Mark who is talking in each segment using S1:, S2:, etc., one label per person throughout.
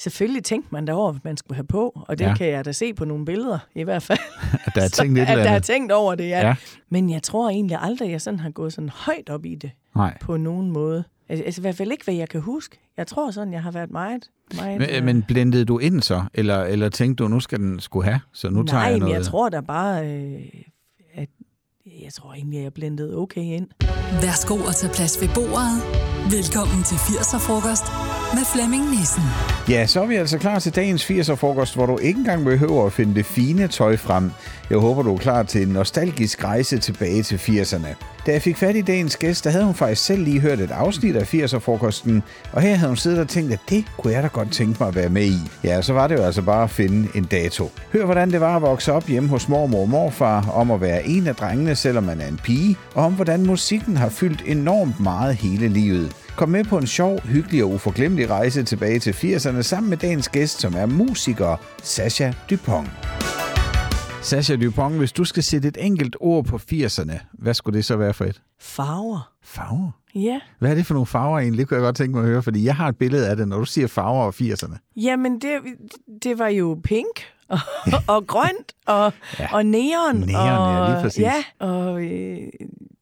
S1: Selvfølgelig tænkte man da over, hvad man skulle have på, og det
S2: Ja.
S1: ja. kan jeg da se på nogle billeder, i hvert fald.
S2: At der er tænkt et
S1: at
S2: eller
S1: der er
S2: andet.
S1: tænkt over det, ja.
S2: Ja.
S1: ja. Men jeg tror egentlig aldrig, at jeg sådan har gået sådan højt op i det
S2: Nej.
S1: på nogen måde. Altså, altså i hvert fald ikke, hvad jeg kan huske. Jeg tror sådan, jeg har været meget... meget øh,
S2: Men, men blendede du ind så? Eller, eller tænkte du, nu skal den skulle have, så nu tager
S1: øh, nej,
S2: jeg
S1: men
S2: noget?
S1: jeg tror da bare, øh, at jeg tror egentlig, at jeg blendede okay ind.
S3: Værsgo at tage plads ved bordet. Velkommen til 80'er-frokost med Flemming Nissen.
S2: Ja, så er vi altså klar til dagens 80'er-frokost, hvor du ikke engang behøver at finde det fine tøj frem. Jeg håber, du er klar til en nostalgisk rejse tilbage til 80'erne. Da jeg fik fat i dagens gæst, der havde hun faktisk selv lige hørt et afsnit af 80'er-frokosten, og her havde hun siddet og tænkt, at det kunne jeg da godt tænke mig at være med i. Ja, så var det jo altså bare at finde en dato. Hør, hvordan det var at vokse op hjemme hos mormor og morfar, om at være en af drengene, selvom man er en pige, og om hvordan musikken har fyldt enormt meget hele livet. Kom med på en sjov, hyggelig og uforglemmelig rejse tilbage til 80'erne sammen med dagens gæst, som er musiker Sasha Dupont. Sasha Dupont, hvis du skal sætte et enkelt ord på 80'erne, hvad skulle det så være for et?
S1: Farver.
S2: Farver.
S1: Ja.
S2: Hvad er det for nogle farver egentlig? Det kunne jeg godt tænke mig at høre, fordi jeg har et billede af det, når du siger farver og 80'erne.
S1: Jamen, det, det var jo pink og, og grønt og, ja. og neon.
S2: Neon,
S1: og,
S2: ja, lige præcis.
S1: Ja, og... Øh,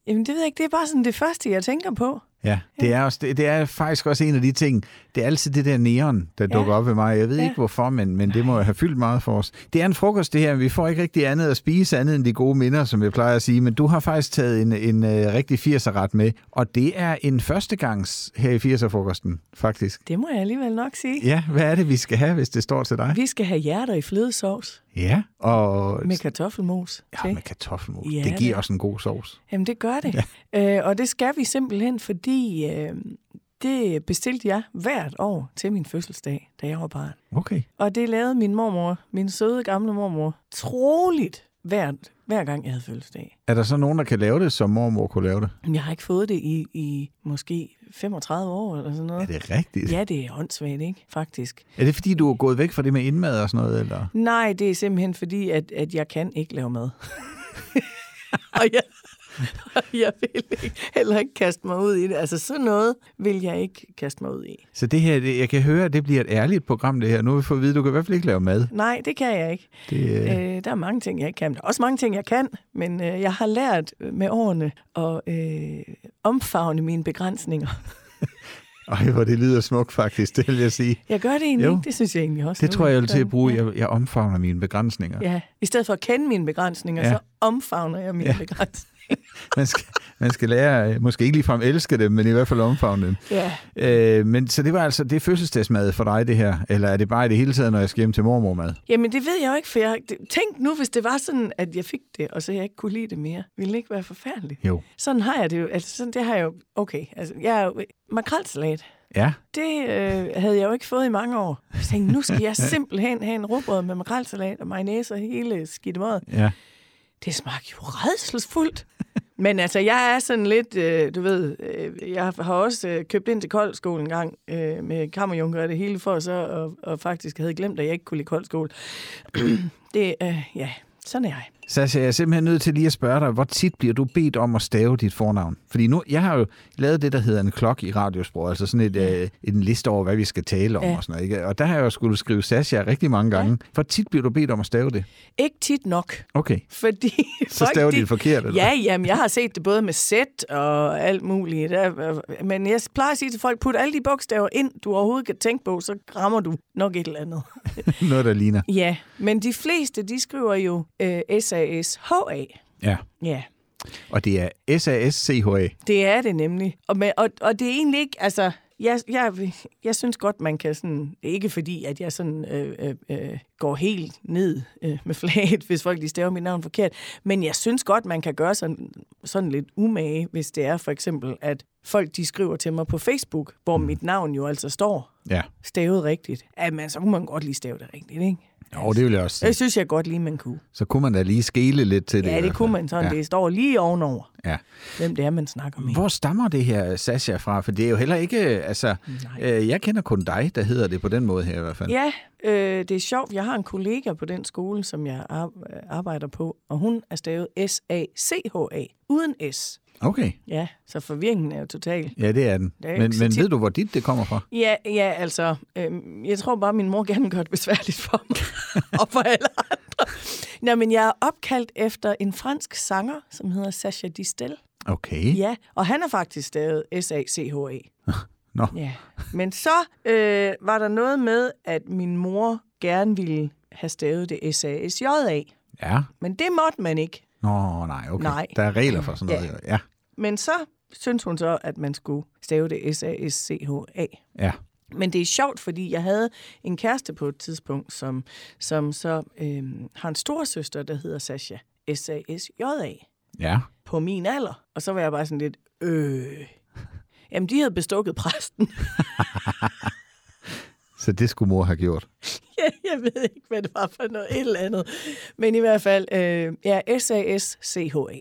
S1: jamen, det ved jeg ikke. Det er bare sådan det første, jeg tænker på.
S2: Ja, det er, også, det, det er faktisk også en af de ting. Det er altid det der neon, der ja.
S1: Ja.
S2: dukker op ved mig. Jeg ved ja.
S1: Ja.
S2: ikke hvorfor, men, men det må jo have fyldt meget for os. Det er en frokost, det her. Vi får ikke rigtig andet at spise, andet end de gode minder, som jeg plejer at sige. Men du har faktisk taget en, en øh, rigtig 80'er-ret med. Og det er en førstegangs her i 80'er-frokosten, faktisk.
S1: Det må jeg alligevel nok sige.
S2: Ja, hvad er det, vi skal have, hvis det står til dig?
S1: Vi skal have hjerter i flødesovs
S2: Ja, og...
S1: med kartoffelmos.
S2: ja,
S1: til.
S2: med kartoffelmos.
S1: Ja,
S2: det giver
S1: det-
S2: også en god sovs.
S1: Jamen, det gør det. Ja. Øh, og det skal vi simpelthen, fordi øh, det bestilte jeg hvert år til min fødselsdag, da jeg var barn.
S2: Okay.
S1: Og det lavede min mormor, min søde gamle mormor, troligt hvert, hver gang jeg havde fødselsdag.
S2: Er der så nogen, der kan lave det, som mormor kunne lave det?
S1: Men jeg har ikke fået det i, i måske 35 år eller sådan
S2: Er
S1: noget.
S2: det rigtigt?
S1: Ja, det er åndssvagt, ikke? Faktisk.
S2: Er det, fordi du er gået væk fra det med indmad og sådan noget, eller?
S1: Nej, det er simpelthen fordi, at, at jeg kan ikke lave mad. og jeg, og jeg vil ikke, heller ikke kaste mig ud i det. Altså, sådan noget vil jeg ikke kaste mig ud i.
S2: Så det her, det, jeg kan høre, at det bliver et ærligt program, det her. Nu har vi fået at vide, at du kan i hvert fald ikke lave mad.
S1: Nej, det kan jeg ikke.
S2: Det, øh,
S1: Øh, der er mange ting, jeg ikke kan. Der er også mange ting, jeg kan, men øh, jeg har lært med årene at øh, omfavne mine begrænsninger.
S2: Ej, hvor det lyder smukt faktisk, det vil jeg sige.
S1: Jeg gør det egentlig
S2: Jo.
S1: jo. ikke, det synes jeg egentlig også.
S2: Det
S1: nu,
S2: tror jeg, jeg vil til at
S1: sådan.
S2: bruge. Jeg, jeg omfavner mine begrænsninger.
S1: Ja, i stedet for at kende mine begrænsninger,
S2: Ja.
S1: ja. så omfavner jeg mine
S2: Ja.
S1: ja. begrænsninger.
S2: Man skal, man skal lære, øh, måske ikke ligefrem elske dem, men i hvert fald omfavne dem.
S1: Ja.
S2: Øh, men så det var altså, det er fødselsdagsmad for dig, det her? Eller er det bare i det hele taget, når jeg skal hjem til mormormad?
S1: Jamen, det ved jeg jo ikke, for jeg, det- tænk nu, hvis det var sådan, at jeg fik det, og så jeg ikke kunne lide det mere. Ville det ikke være forfærdeligt?
S2: Jo.
S1: Sådan har jeg det jo. Altså, sådan, det har jeg jo... Okay, altså, jeg er jo... Makrelsalat.
S2: Ja,
S1: Det øh, havde jeg jo ikke fået i mange år. Jeg tænkte, nu skal jeg simpelthen have en råbrød med makrelsalat og mayonnaise og hele skidtemødet.
S2: ja.
S1: Det smagte jo redselsfuldt. Men altså, jeg er sådan lidt, øh, du ved, øh, jeg har også øh, købt ind til koldskål en gang øh, med kammerjunker og det hele for så, og, og faktisk havde glemt, at jeg ikke kunne lide koldskål. det, øh, ja, sådan er jeg.
S2: Sasha, jeg er simpelthen nødt til lige at spørge dig, hvor tit bliver du bedt om at stave dit fornavn? Fordi nu, jeg har jo lavet det, der hedder en klok i radiosprog, altså sådan et, øh, en liste over, hvad vi skal tale om ja.
S1: Ja.
S2: og sådan noget. Ikke? Og der har jeg jo skulle skrive Sasha rigtig mange gange. Ja. Hvor tit bliver du bedt om at stave det?
S1: Ikke tit nok,
S2: Okay,
S1: fordi
S2: så
S1: folk,
S2: staver de
S1: de-
S2: det forkert, eller?
S1: Ja, jamen, jeg har set det både med sæt og alt muligt. Der, øh, men jeg plejer at sige til folk, put alle de bogstaver ind, du overhovedet kan tænke på, så rammer du nok et eller andet.
S2: Noget, der ligner.
S1: ja, men de fleste, de skriver jo øh, S-A-S-H-A.
S2: Ja,
S1: Ja,
S2: og det er S-A-S-C-H-A.
S1: det er det nemlig. Og, med, og, og det er egentlig ikke, altså... Jeg, jeg, jeg synes godt, man kan sådan... Ikke fordi, at jeg sådan øh, øh, øh, går helt ned øh, med flaget, hvis folk lige staver mit navn forkert. Men jeg synes godt, man kan gøre sådan, sådan lidt umage, hvis det er for eksempel, at folk de skriver til mig på Facebook, hvor mit navn jo altså står
S2: Ja,
S1: stavet rigtigt. Jamen, så kunne man godt lige stave det rigtigt, ikke?
S2: Nå, det vil jeg også sige.
S1: Det synes jeg godt lige, man kunne.
S2: Så kunne man da lige skele lidt til det. i
S1: Ja,
S2: hvert
S1: det
S2: fald.
S1: kunne man sådan.
S2: Ja.
S1: Det står lige ovenover.
S2: Ja.
S1: hvem det er, man snakker med.
S2: Hvor stammer det her Sasha fra? For det er jo heller ikke, øh, altså,
S1: Nej.
S2: øh, jeg kender kun dig, der hedder det på den måde her i hvert fald.
S1: Ja, øh, det er sjovt. Jeg har en kollega på den skole, som jeg ar- arbejder på, og hun er stavet S-A-C-H-A, uden S.
S2: Okay,
S1: Ja, så forvirringen er jo total.
S2: ja det er den.
S1: Det er jo
S2: men
S1: ikke så
S2: men
S1: tit.
S2: ved du, hvor dit det kommer fra?
S1: Ja, ja altså, øh, jeg tror bare, min mor gerne gør det besværligt for mig og for alle andre. Nej, men jeg er opkaldt efter en fransk sanger, som hedder Sacha Distel.
S2: Okay,
S1: Ja, og han er faktisk stavet S-A-C-H-A.
S2: nå.
S1: Ja. Men så øh, var der noget med, at min mor gerne ville have stavet det S-A-S-J-A.
S2: Ja.
S1: Men det måtte man ikke.
S2: Nå, nej, okay.
S1: Nej.
S2: Der er regler for sådan noget. Ja,
S1: Men så synes hun så, at man skulle stave det S-A-S-C-H-A.
S2: ja.
S1: Men det er sjovt, fordi jeg havde en kæreste på et tidspunkt, som, som så øh, har en storsøster, der hedder Sasha S-A-S-J-A
S2: ja.
S1: på min alder. Og så var jeg bare sådan lidt, øh... Jamen, de havde bestukket præsten.
S2: Så det skulle mor have gjort.
S1: jeg, jeg ved ikke, hvad det var for noget et eller andet. Men i hvert fald, øh, ja, S-A-S-C-H-A.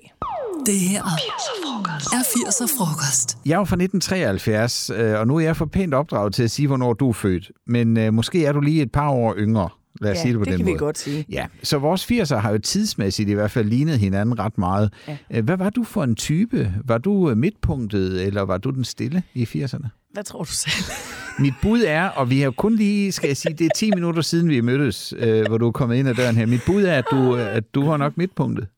S3: Det her er 80'er frokost.
S2: Jeg er jo fra 1973, øh, og nu er jeg for pænt opdraget til at sige, hvornår du er født. Men øh, måske er du lige et par år yngre. Lad os
S1: Ja,
S2: sige det på
S1: det
S2: den
S1: kan
S2: måde.
S1: vi godt sige.
S2: Ja, så vores 80'er har jo tidsmæssigt i hvert fald lignet hinanden ret meget. Ja. Hvad var du for en type? Var du øh, midtpunktet, eller var du den stille i 80'erne?
S1: Hvad tror du selv?
S2: Mit bud er, og vi har jo kun lige, skal jeg sige, det er 10 minutter siden, vi mødtes, øh, hvor du er kommet ind ad døren her. Mit bud er, at du, øh, at du har nok midtpunktet.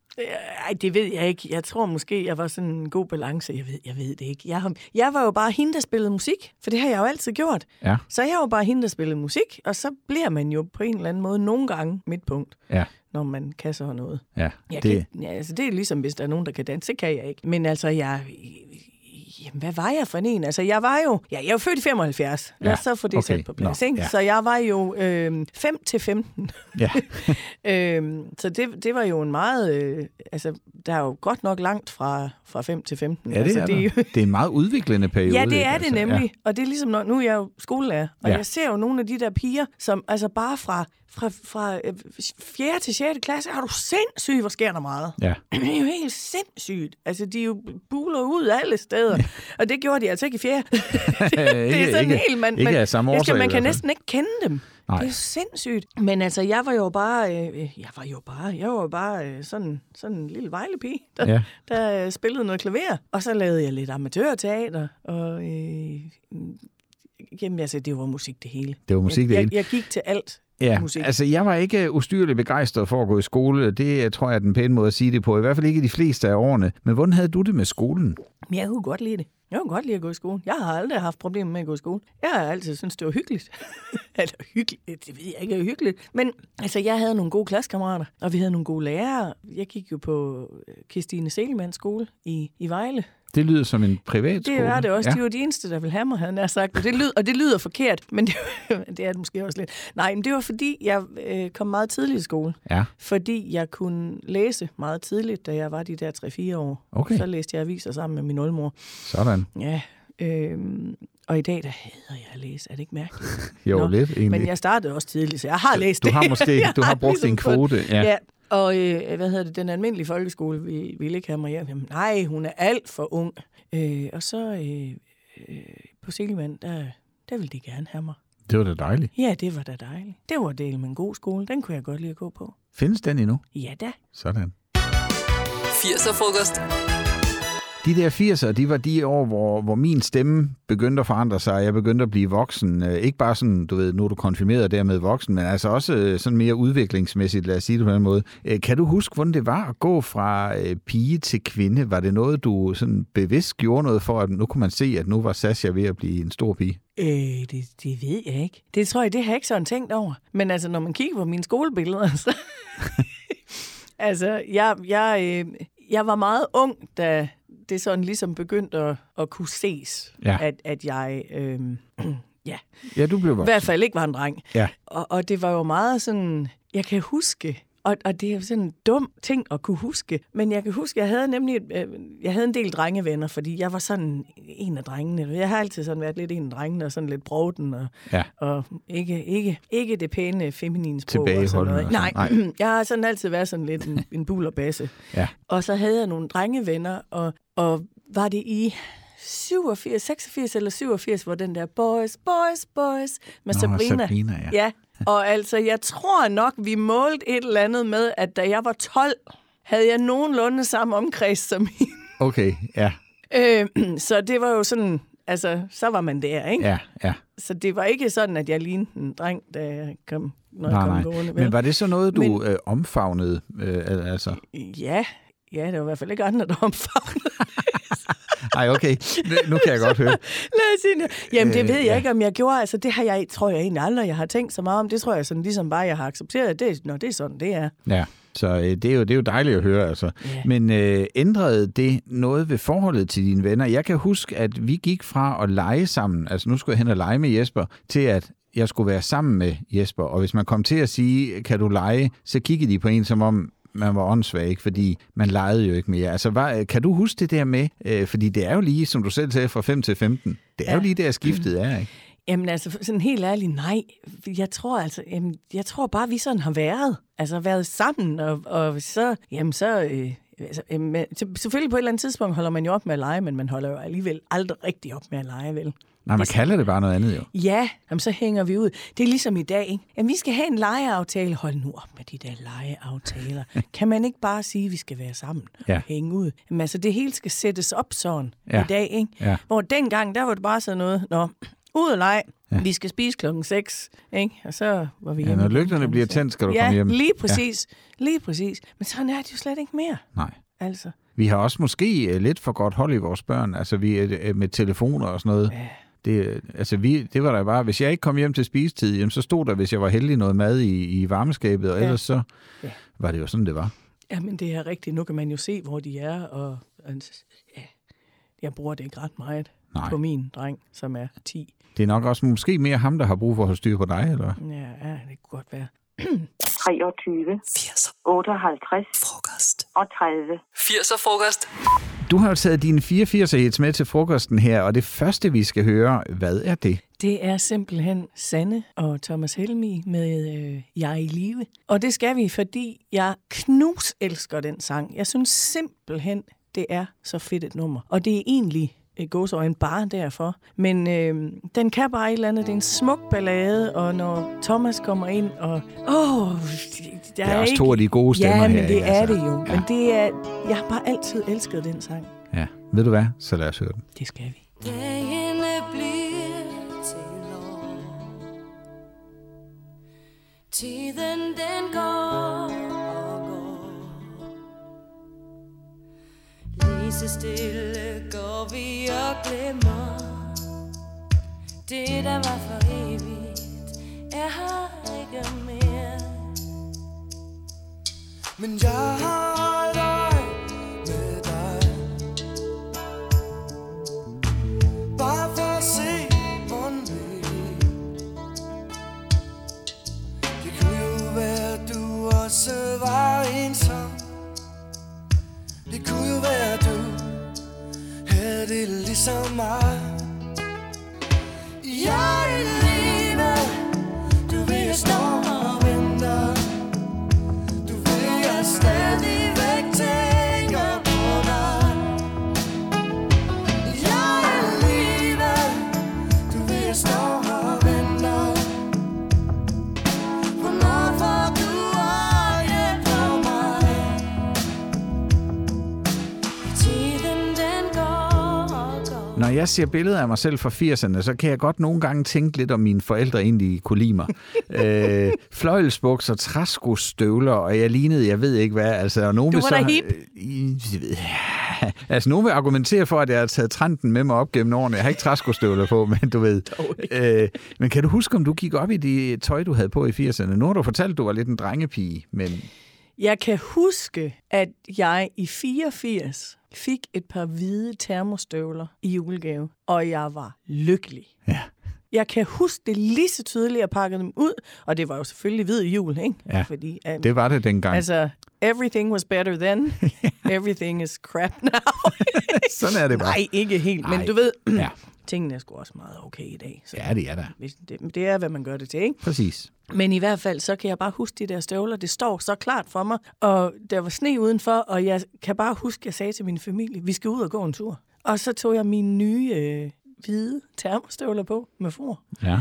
S1: Ej, det ved jeg ikke. Jeg tror måske, jeg var sådan en god balance. Jeg ved, jeg ved det ikke. Jeg, har, jeg var jo bare hende, der spillede musik, for det har jeg jo altid gjort.
S2: Ja,
S1: Så jeg var bare hende, der spillede musik, og så bliver man jo på en eller anden måde nogle gange midtpunkt,
S2: ja,
S1: når man kan så noget.
S2: ja.
S1: Jeg det...
S2: det,
S1: Kan, ja, altså, det er ligesom, hvis der er nogen, der kan danse, det kan jeg ikke. Men altså, jeg... Jamen, hvad var jeg for en? Altså, jeg var jo... Ja, jeg var født i 75. Lad os
S2: Ja,
S1: så få det
S2: okay.
S1: okay. sat på plads,
S2: Nå,
S1: ikke?
S2: ja.
S1: Så jeg var jo øh, 5-15.
S2: ja.
S1: Øhm, så det, det var jo en meget... Øh, altså, der er jo godt nok langt fra, fra 5 til 15.
S2: ja, det
S1: altså,
S2: er det. Det er en meget udviklende periode.
S1: Ja, det
S2: ikke?
S1: er det
S2: Altså,
S1: nemlig. Og det er ligesom, når, nu er jeg jo skolelærer, og
S2: Ja.
S1: ja. jeg ser jo nogle af de der piger, som altså bare fra, fra, fra øh, 4. til 6. klasse, har du sindssygt, hvor sker der meget?
S2: Ja, ja.
S1: Det er jo helt sindssygt. Altså, de er jo buler ud alle steder. Og det gjorde de altså ikke i fjerde. det, det er
S2: Øh, Ikke-
S1: sådan
S2: ikke-
S1: helt... Man,
S2: ikke
S1: man,
S2: af samme
S1: det skal-
S2: årsag
S1: Man
S2: i hvert
S1: kan
S2: fald.
S1: næsten ikke kende dem.
S2: Nej.
S1: Det er sindssygt. Men altså, jeg var jo bare... Øh, øh, jeg var jo bare... Jeg var bare øh, sådan, sådan en lille vejlepige, der,
S2: Ja.
S1: ja. der øh, spillede noget klaver. Og så lavede jeg lidt amatørteater, og... Øh, mm, jamen, altså, det var musik det hele.
S2: Det var musik, det
S1: jeg,
S2: hele.
S1: Jeg, jeg gik til alt.
S2: Ja,
S1: musik.
S2: altså jeg var ikke ustyrligt begejstret for at gå i skole. Det øh, tror jeg er den pæne måde at sige det på. I hvert fald ikke i de fleste af årene. Men hvordan havde du det med skolen?
S1: Men jeg kunne godt lide det. Jeg kunne godt lide at gå i skole. Jeg har aldrig haft problemer med at gå i skole. Jeg har altid syntes, det var hyggeligt. Eller hyggeligt, det ved jeg ikke er hyggeligt. Men altså, jeg havde nogle gode klassekammerater, og vi havde nogle gode lærere. Jeg gik jo på øh, Kirstine Seelmanns skole i, i Vejle.
S2: Det lyder som en privat skole.
S1: Det var det også.
S2: Ja.
S1: Ja. De var de eneste, der ville have mig, havde jeg nær sagt. Og det, lyd, og det lyder forkert, men det, det er det måske også lidt. Nej, men det var fordi, jeg øh, kom meget tidligt i skole.
S2: ja.
S1: Fordi jeg kunne læse meget tidligt, da jeg var de der 3-4 år.
S2: Okay.
S1: Så læste jeg aviser sammen med min oldemor.
S2: Sådan.
S1: Ja, øhm, og i dag, der hader jeg at læse. Er det ikke mærkeligt?
S2: Jo,
S1: Nå,
S2: lidt egentlig.
S1: Men jeg startede også tidligt, så jeg har læst
S2: Du
S1: det.
S2: har måske-
S1: Jeg ligesom
S2: du har brugt din
S1: fået-
S2: kvote, ja.
S1: ja. Og øh, hvad hedder det, den almindelige folkeskole ville, ville ikke have mig hjem. Jamen, nej, hun er alt for ung. Øh, og så øh, øh, på Seligman, der, der ville de gerne have mig.
S2: Det var da dejligt.
S1: Ja, det var da dejligt. Det var del med en god skole. Den kunne jeg godt lide at gå på.
S2: Findes den endnu?
S1: Ja da.
S2: Sådan.
S3: 80'er frokost.
S2: De der 80'er, de var de år, hvor, hvor min stemme begyndte at forandre sig. Jeg begyndte at blive voksen. Øh, Ikke bare sådan, du ved, nu er du konfirmeret og dermed voksen, men altså også øh, sådan mere udviklingsmæssigt, lad os sige det på den måde. Øh, Kan du huske, hvordan det var at gå fra øh, pige til kvinde? Var det noget, du sådan bevidst gjorde noget for, at nu kunne man se, at nu var Sasha ved at blive en stor pige?
S1: Øh, det, det ved jeg ikke. Det tror jeg, det har jeg ikke sådan tænkt over. Men altså, når man kigger på mine skolebilleder, så... altså, jeg, jeg, øh, jeg var meget ung, da det sådan ligesom begyndte at, at kunne ses,
S2: Ja.
S1: at, at jeg... Øh, ja,
S2: Ja, du blev
S1: i
S2: voksen.
S1: hvert fald ikke var en dreng.
S2: Ja.
S1: Og, og det var jo meget sådan... Jeg kan huske Og, og det er jo sådan en dum ting at kunne huske. Men jeg kan huske, jeg havde nemlig et, øh, jeg havde en del drengevenner, fordi jeg var sådan en af drengene. Jeg har altid sådan været lidt en af drengene, og sådan lidt broden, og,
S2: Ja.
S1: og ikke, ikke, ikke det pæne feminine sprog. Og sådan
S2: Tilbageholdende
S1: noget.
S2: og
S1: Nej,
S2: sådan-
S1: Nej, jeg har sådan altid været sådan lidt en, en bullerbasse.
S2: Ja.
S1: Og så havde jeg nogle drengevenner, og, og var det i 87, 86 eller 87, hvor den der Boys, Boys, Boys med
S2: Nå,
S1: Sabrina.
S2: Sabrina, ja.
S1: ja. Og altså, jeg tror nok, vi målte et eller andet med, at da jeg var 12, havde jeg nogenlunde samme omkreds som hende.
S2: Okay, ja,
S1: Øh, så det var jo sådan, altså, så var man der, ikke?
S2: ja, ja.
S1: Så det var ikke sådan, at jeg lignede en dreng, da jeg kom, når jeg kom
S2: Nej, nej.
S1: gående. vel?
S2: Men var det så noget, du
S1: Men-
S2: øh, omfavnede? Øh, al- altså?
S1: Ja, ja, det var i hvert fald ikke andre, der omfavnede.
S2: Ej, okay. Nu kan jeg godt høre.
S1: Lad os sige det. Jamen, det
S2: Øh,
S1: ved jeg
S2: ja.
S1: ja. ikke, om jeg gjorde. Altså, det har jeg, tror jeg egentlig aldrig, jeg har tænkt så meget om. Det tror jeg sådan, ligesom bare, jeg har accepteret. Det, når det er sådan, det er.
S2: Ja, så øh, det, er jo, det er jo dejligt at høre, altså.
S1: Ja.
S2: Men øh, ændrede det noget ved forholdet til dine venner? Jeg kan huske, at vi gik fra at lege sammen, altså nu skulle jeg hen og lege med Jesper, til at jeg skulle være sammen med Jesper. Og hvis man kom til at sige, kan du lege, så kiggede de på en som om, man var åndssvag, ikke? fordi man legede jo ikke mere. Altså, var, kan du huske det der med, øh, fordi det er jo lige, som du selv sagde, fra 5 til 15, det er ja. jo
S1: Ja.
S2: lige der skiftet er, ikke?
S1: Jamen altså, sådan helt ærligt, nej. Jeg tror altså, jamen, jeg tror bare, vi sådan har været. Altså været sammen, og, og så, jamen så... Øh, altså, jamen, men- så- selvfølgelig på et eller andet tidspunkt holder man jo op med at lege, men man holder jo alligevel aldrig rigtig op med at lege, vel?
S2: Nej, man kalder det bare noget andet jo.
S1: Ja, jamen, så hænger vi ud. Det er ligesom i dag, ikke? Jamen, vi skal have en legeaftale. Hold nu op med de der legeaftaler. kan man ikke bare sige, at vi skal være sammen
S2: Ja.
S1: og hænge ud? Jamen, altså, det hele skal sættes op sådan
S2: Ja.
S1: i dag, ikke?
S2: Ja.
S1: Hvor dengang, der var det bare sådan noget, nå, ud og lege, ja. vi skal spise klokken 6, ikke? Og så var vi
S2: Ja,
S1: hjemme
S2: når
S1: klokken
S2: lygterne bliver
S1: seks.
S2: tændt, skal du
S1: ja,
S2: komme hjem.
S1: lige præcis. Ja. Lige præcis. Men sådan er det jo slet ikke mere,
S2: Nej.
S1: altså.
S2: Vi har også måske øh, lidt for godt hold i vores børn. Altså, vi er øh, med telefoner og sådan noget. Det, øh, altså, vi, det var der bare, hvis jeg ikke kom hjem til spisetid, jamen, så stod der, hvis jeg var heldig, noget mad i, i varmeskabet, og
S1: Ja.
S2: ellers så
S1: Ja.
S2: var det jo sådan, det var.
S1: Jamen, det er rigtigt. Nu kan man jo se, hvor de er, og, og ja, jeg bruger det ikke ret meget
S2: Nej.
S1: på min dreng, som er 10.
S2: Det er nok også måske mere ham, der har brug for at have styr på dig, eller?
S1: Ja, ja det kunne godt være.
S4: 23,
S3: 80'er
S4: 58
S3: frokost.
S4: og 30.
S3: 80'er frokost.
S2: Du har jo taget dine 84 hits med til frokosten her, og det første, vi skal høre, hvad er det?
S1: Det er simpelthen Sanne og Thomas Helmi med øh, Jeg er i live. Og det skal vi, fordi jeg knus elsker den sang. Jeg synes simpelthen, det er så fedt et nummer. Og det er egentlig gås en bare derfor. Men øh, den kan bare et eller andet. Det er en smuk ballade, og når Thomas kommer ind, og... Åh, oh, der
S2: er også
S1: ikke-
S2: to af de gode stemmer
S1: ja, men
S2: her,
S1: det
S2: ikke?
S1: er
S2: Altså,
S1: det jo.
S2: ja.
S1: Men det er... Jeg har bare altid elsket den sang.
S2: Ja, ved du hvad? Så lad os høre den.
S1: Det skal vi.
S5: Dagene bliver til år Tiden den går og går Lige så stille går vi og glemmer Det der var for evigt er her ikke mere
S6: Men jeg har dig med dig Bare for at se mon det Det kunne jo være du også var ensom Det kunne jo være du havde det ligesom mig Jeg er i live Du ved jeg står og venter du ved, jeg stadigvæk tænker på dig. Jeg er i live. Du ved, jeg står og venter. Hvornår får du øje på mig?
S5: Tiden den går og går
S2: Når jeg ser billeder af mig selv fra 80'erne, så kan jeg godt nogle gange tænke lidt om mine forældre egentlig kunne lide mig. øh, fløjelsbukser, træskostøvler, og jeg lignede, jeg ved ikke hvad. Altså, og nogen
S1: Du
S2: vil
S1: var
S2: så,
S1: da hip.
S2: Øh, øh, ja. Altså, nogen vil argumentere for, at jeg har taget trenden med mig op gennem årene. Jeg har ikke træskostøvler på, men du ved. Øh, men kan du huske, om du gik op i det tøj, du havde på i 80'erne? Nu har du fortalt, at du var lidt en drengepige, men
S1: Jeg kan huske, at jeg i 84 fik et par hvide termostøvler i julegave, og jeg var lykkelig.
S2: ja.
S1: Jeg kan huske det lige så tydeligt, jeg pakkede dem ud. Og det var jo selvfølgelig hvid jul, ikke?
S2: Ja,
S1: Fordi, um,
S2: Det var det dengang. Altså,
S1: Altså, everything was better then. everything is crap now.
S2: Sådan er det bare.
S1: Nej, ikke helt. Men
S2: Nej.
S1: du ved,
S2: Ja,
S1: tingene er sgu også meget okay i dag. Så
S2: ja, det er der.
S1: hvis det, det er, hvad man gør det til, ikke?
S2: Præcis.
S1: Men i hvert fald, så kan jeg bare huske de der støvler. Det står så klart for mig. Og der var sne udenfor, og jeg kan bare huske, at jeg sagde til min familie, vi skal ud og gå en tur. Og så tog jeg mine nye øh, hvide termostøvler på med for.
S2: Ja.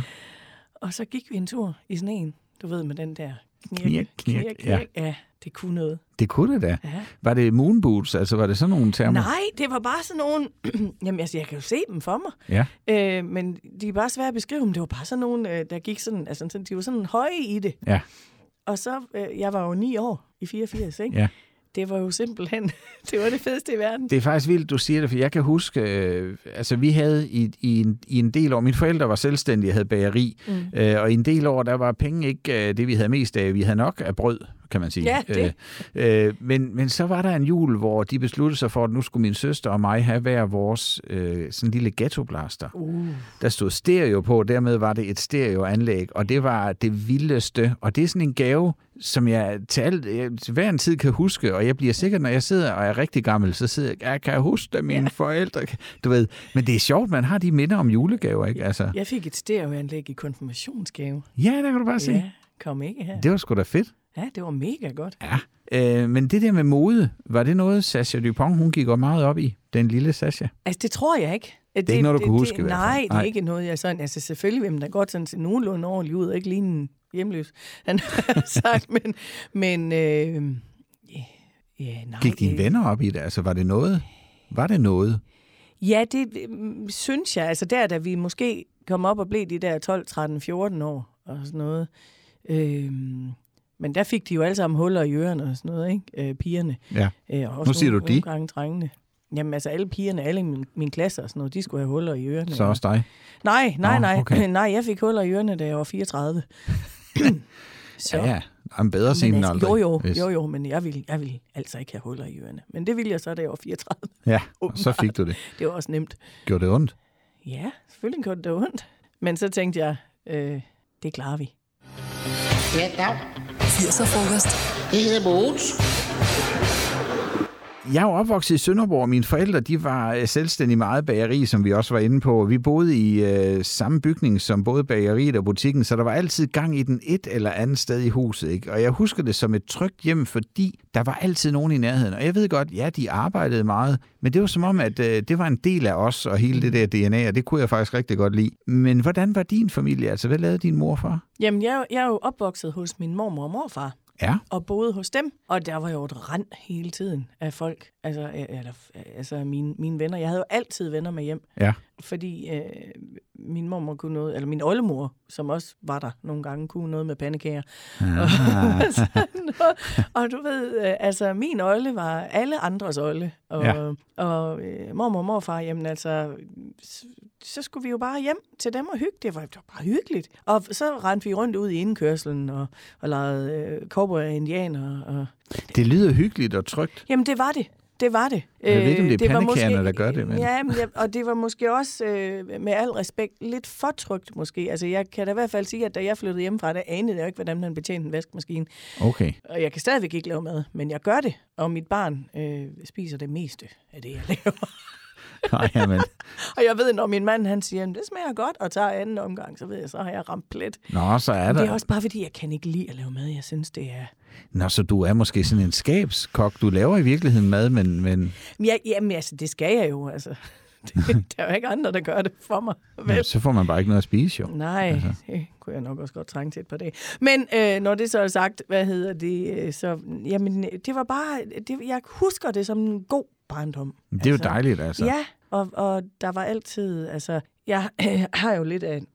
S1: Og så gik vi en tur i sneen. Du ved, med den der knirk,
S2: Knirk, knirk,
S1: Ja. ja, det kunne noget.
S2: Det kunne det da.
S1: Ja.
S2: Var det moon boots? Altså, var det sådan nogle termer?
S1: Nej, det var bare sådan nogle... Jamen, altså, jeg kan jo se dem for mig.
S2: Ja.
S1: Øh, men de er bare svære at beskrive, men det var bare sådan nogle, øh, der gik sådan... Altså, sådan, de var sådan høje i det.
S2: Ja.
S1: Og så, øh, jeg var jo ni år i 84, ikke?
S2: Ja.
S1: Det var jo simpelthen... det var det fedeste i verden.
S2: Det er faktisk vildt, du siger det, for jeg kan huske, øh, altså vi havde i, i, en, i en del år, mine forældre var selvstændige og havde bageri, mm. øh, og i en del år, der var penge ikke øh, det, vi havde mest af. Vi havde nok af brød, kan man sige.
S1: Ja, det.
S2: Øh, øh, men, men så var der en jul, hvor de besluttede sig for, at nu skulle min søster og mig have hver vores øh, sådan lille ghettoblaster. Uh. Der stod stereo på, og dermed var det et stereoanlæg, og det var det vildeste. Og det er sådan en gave, som jeg til, alt, jeg til hver en tid kan huske, og jeg bliver sikker, når jeg sidder og er rigtig gammel, så sidder jeg, jeg kan jeg huske det, mine ja. forældre, kan-" du ved. Men det er sjovt, man har de minder om julegaver, ikke? Altså,
S1: Jeg fik et stereoanlæg i konfirmationsgave.
S2: ja, der kan du bare se.
S1: Ja, kom ikke her.
S2: Det var sgu da fedt.
S1: Ja, det var mega godt.
S2: Ja. Øh, men det der med mode, var det noget, Sasha Dupont, hun gik jo meget op i? Den lille Sasha.
S1: Altså, det tror jeg ikke. Det, det
S2: ikke noget, du kan huske i
S1: det,
S2: hvert fald.
S1: Nej, det er
S2: Nej.
S1: ikke noget, jeg sådan... Altså, selvfølgelig vil man da godt sådan se nogenlunde ordentligt ud, og ikke lige en hjemløs, han har sagt, men... men øh, ja, ja, nej,
S2: Gik dine
S1: det-
S2: venner op i det? Altså, var det noget? Var det noget?
S1: Ja, det øh, synes jeg. Altså der, da vi måske kom op og blev de der 12, 13, 14 år og sådan noget. Øhm, men der fik de jo alle sammen huller i ørerne og sådan noget, ikke? Øh, pigerne.
S2: Ja.
S1: Øh, og
S2: Nu siger
S1: nogle-
S2: du de.
S1: nogle gange drengene. Jamen altså alle pigerne, alle i min, min klasse og sådan noget, de skulle have huller i ørerne.
S2: Så også dig.
S1: Nej, nej,
S2: Nå,
S1: nej.
S2: okay.
S1: nej, jeg fik huller i ørerne, da jeg var 34. så.
S2: Ja, ja. Jamen, bedre sent
S1: Men
S2: end
S1: altså,
S2: aldrig.
S1: jo, jo,
S2: hvis-
S1: jo, jo, men jeg ville, jeg ville altså ikke have huller i ørerne. Men det ville jeg så, da jeg var 34.
S2: Ja, og så fik du det.
S1: Det var også nemt.
S2: Gjorde det ondt?
S1: Ja, selvfølgelig gjorde det da ondt. Men så tænkte jeg, øh, det klarer vi.
S7: Ja, dag.
S3: 80'er-frokost.
S7: Jeg hedder Mogens.
S2: Jeg er jo opvokset i Sønderborg, og mine forældre de var øh, selvstændig meget bageri, som vi også var inde på. Vi boede i øh, samme bygning som både bageriet og butikken, så der var altid gang i den et eller andet sted i huset. Ikke? Og jeg husker det som et trygt hjem, fordi der var altid nogen i nærheden. Og jeg ved godt, ja, de arbejdede meget, men det var som om, at øh, det var en del af os og hele det der DNA, og det kunne jeg faktisk rigtig godt lide. Men hvordan var din familie? Altså, hvad lavede din mor for?
S1: Jamen, jeg, er jo- jeg er jo opvokset hos min mormor og morfar,
S2: Ja,
S1: og boede hos dem. Og der var jo et rand hele tiden af folk. Altså, øh, eller, øh, altså af mine, mine venner. Jeg havde jo altid venner med hjem,
S2: ja,
S1: fordi øh, min mormor kunne noget, eller min oldemor, som også var der nogle gange, kunne noget med pandekager. Og, sådan noget. og du ved, øh, altså min olde var alle andres olde. Og,
S2: Ja.
S1: ja. og øh, mormor og morfar, jamen altså, så, så skulle vi jo bare hjem til dem og hygge. Det var, det var bare hyggeligt. Og så rendte vi rundt ud i indkørselen og, og legede øh, cowboy og indianer. Og,
S2: det lyder hyggeligt og trygt.
S1: Jamen, det var det. Det var det.
S2: Jeg ved ikke, om
S1: Øh,
S2: det er
S1: var
S2: pandekagerne, der gør det, men-
S1: Ja, men jeg, og det var måske også, øh, med al respekt, lidt for trygt måske. Altså, jeg kan da i hvert fald sige, at da jeg flyttede hjemmefra, der anede jeg jo ikke, hvordan man betjente en vaskemaskine.
S2: Okay.
S1: Og jeg kan stadigvæk ikke lave mad, men jeg gør det. Og mit barn øh, spiser det meste af det, jeg laver.
S2: Nej, jamen.
S1: og jeg ved, når min mand han siger, at det smager godt, og tager anden omgang, så ved jeg, så har jeg ramt plet.
S2: Nå, så er
S1: Men
S2: der...
S1: det er også bare, fordi jeg kan ikke lide at lave mad. Jeg synes, det er...
S2: Nå, så du er måske sådan en skabskok. Du laver i virkeligheden mad, men, men
S1: Men jeg- Jamen, altså, det skal jeg jo, altså. Det, der er jo ikke andre, der gør det for mig. Vel?
S2: jamen, så får man bare ikke noget at spise, jo.
S1: Nej, altså. det kunne jeg nok også godt trænge til et par dage. Men øh, når det så er sagt, hvad hedder det, øh, så... Jamen, øh, det var bare... Det, jeg husker det som en god barndom.
S2: Det er jo dejligt, altså.
S1: Ja, og, og der var altid... Altså, jeg øh, har jo lidt af et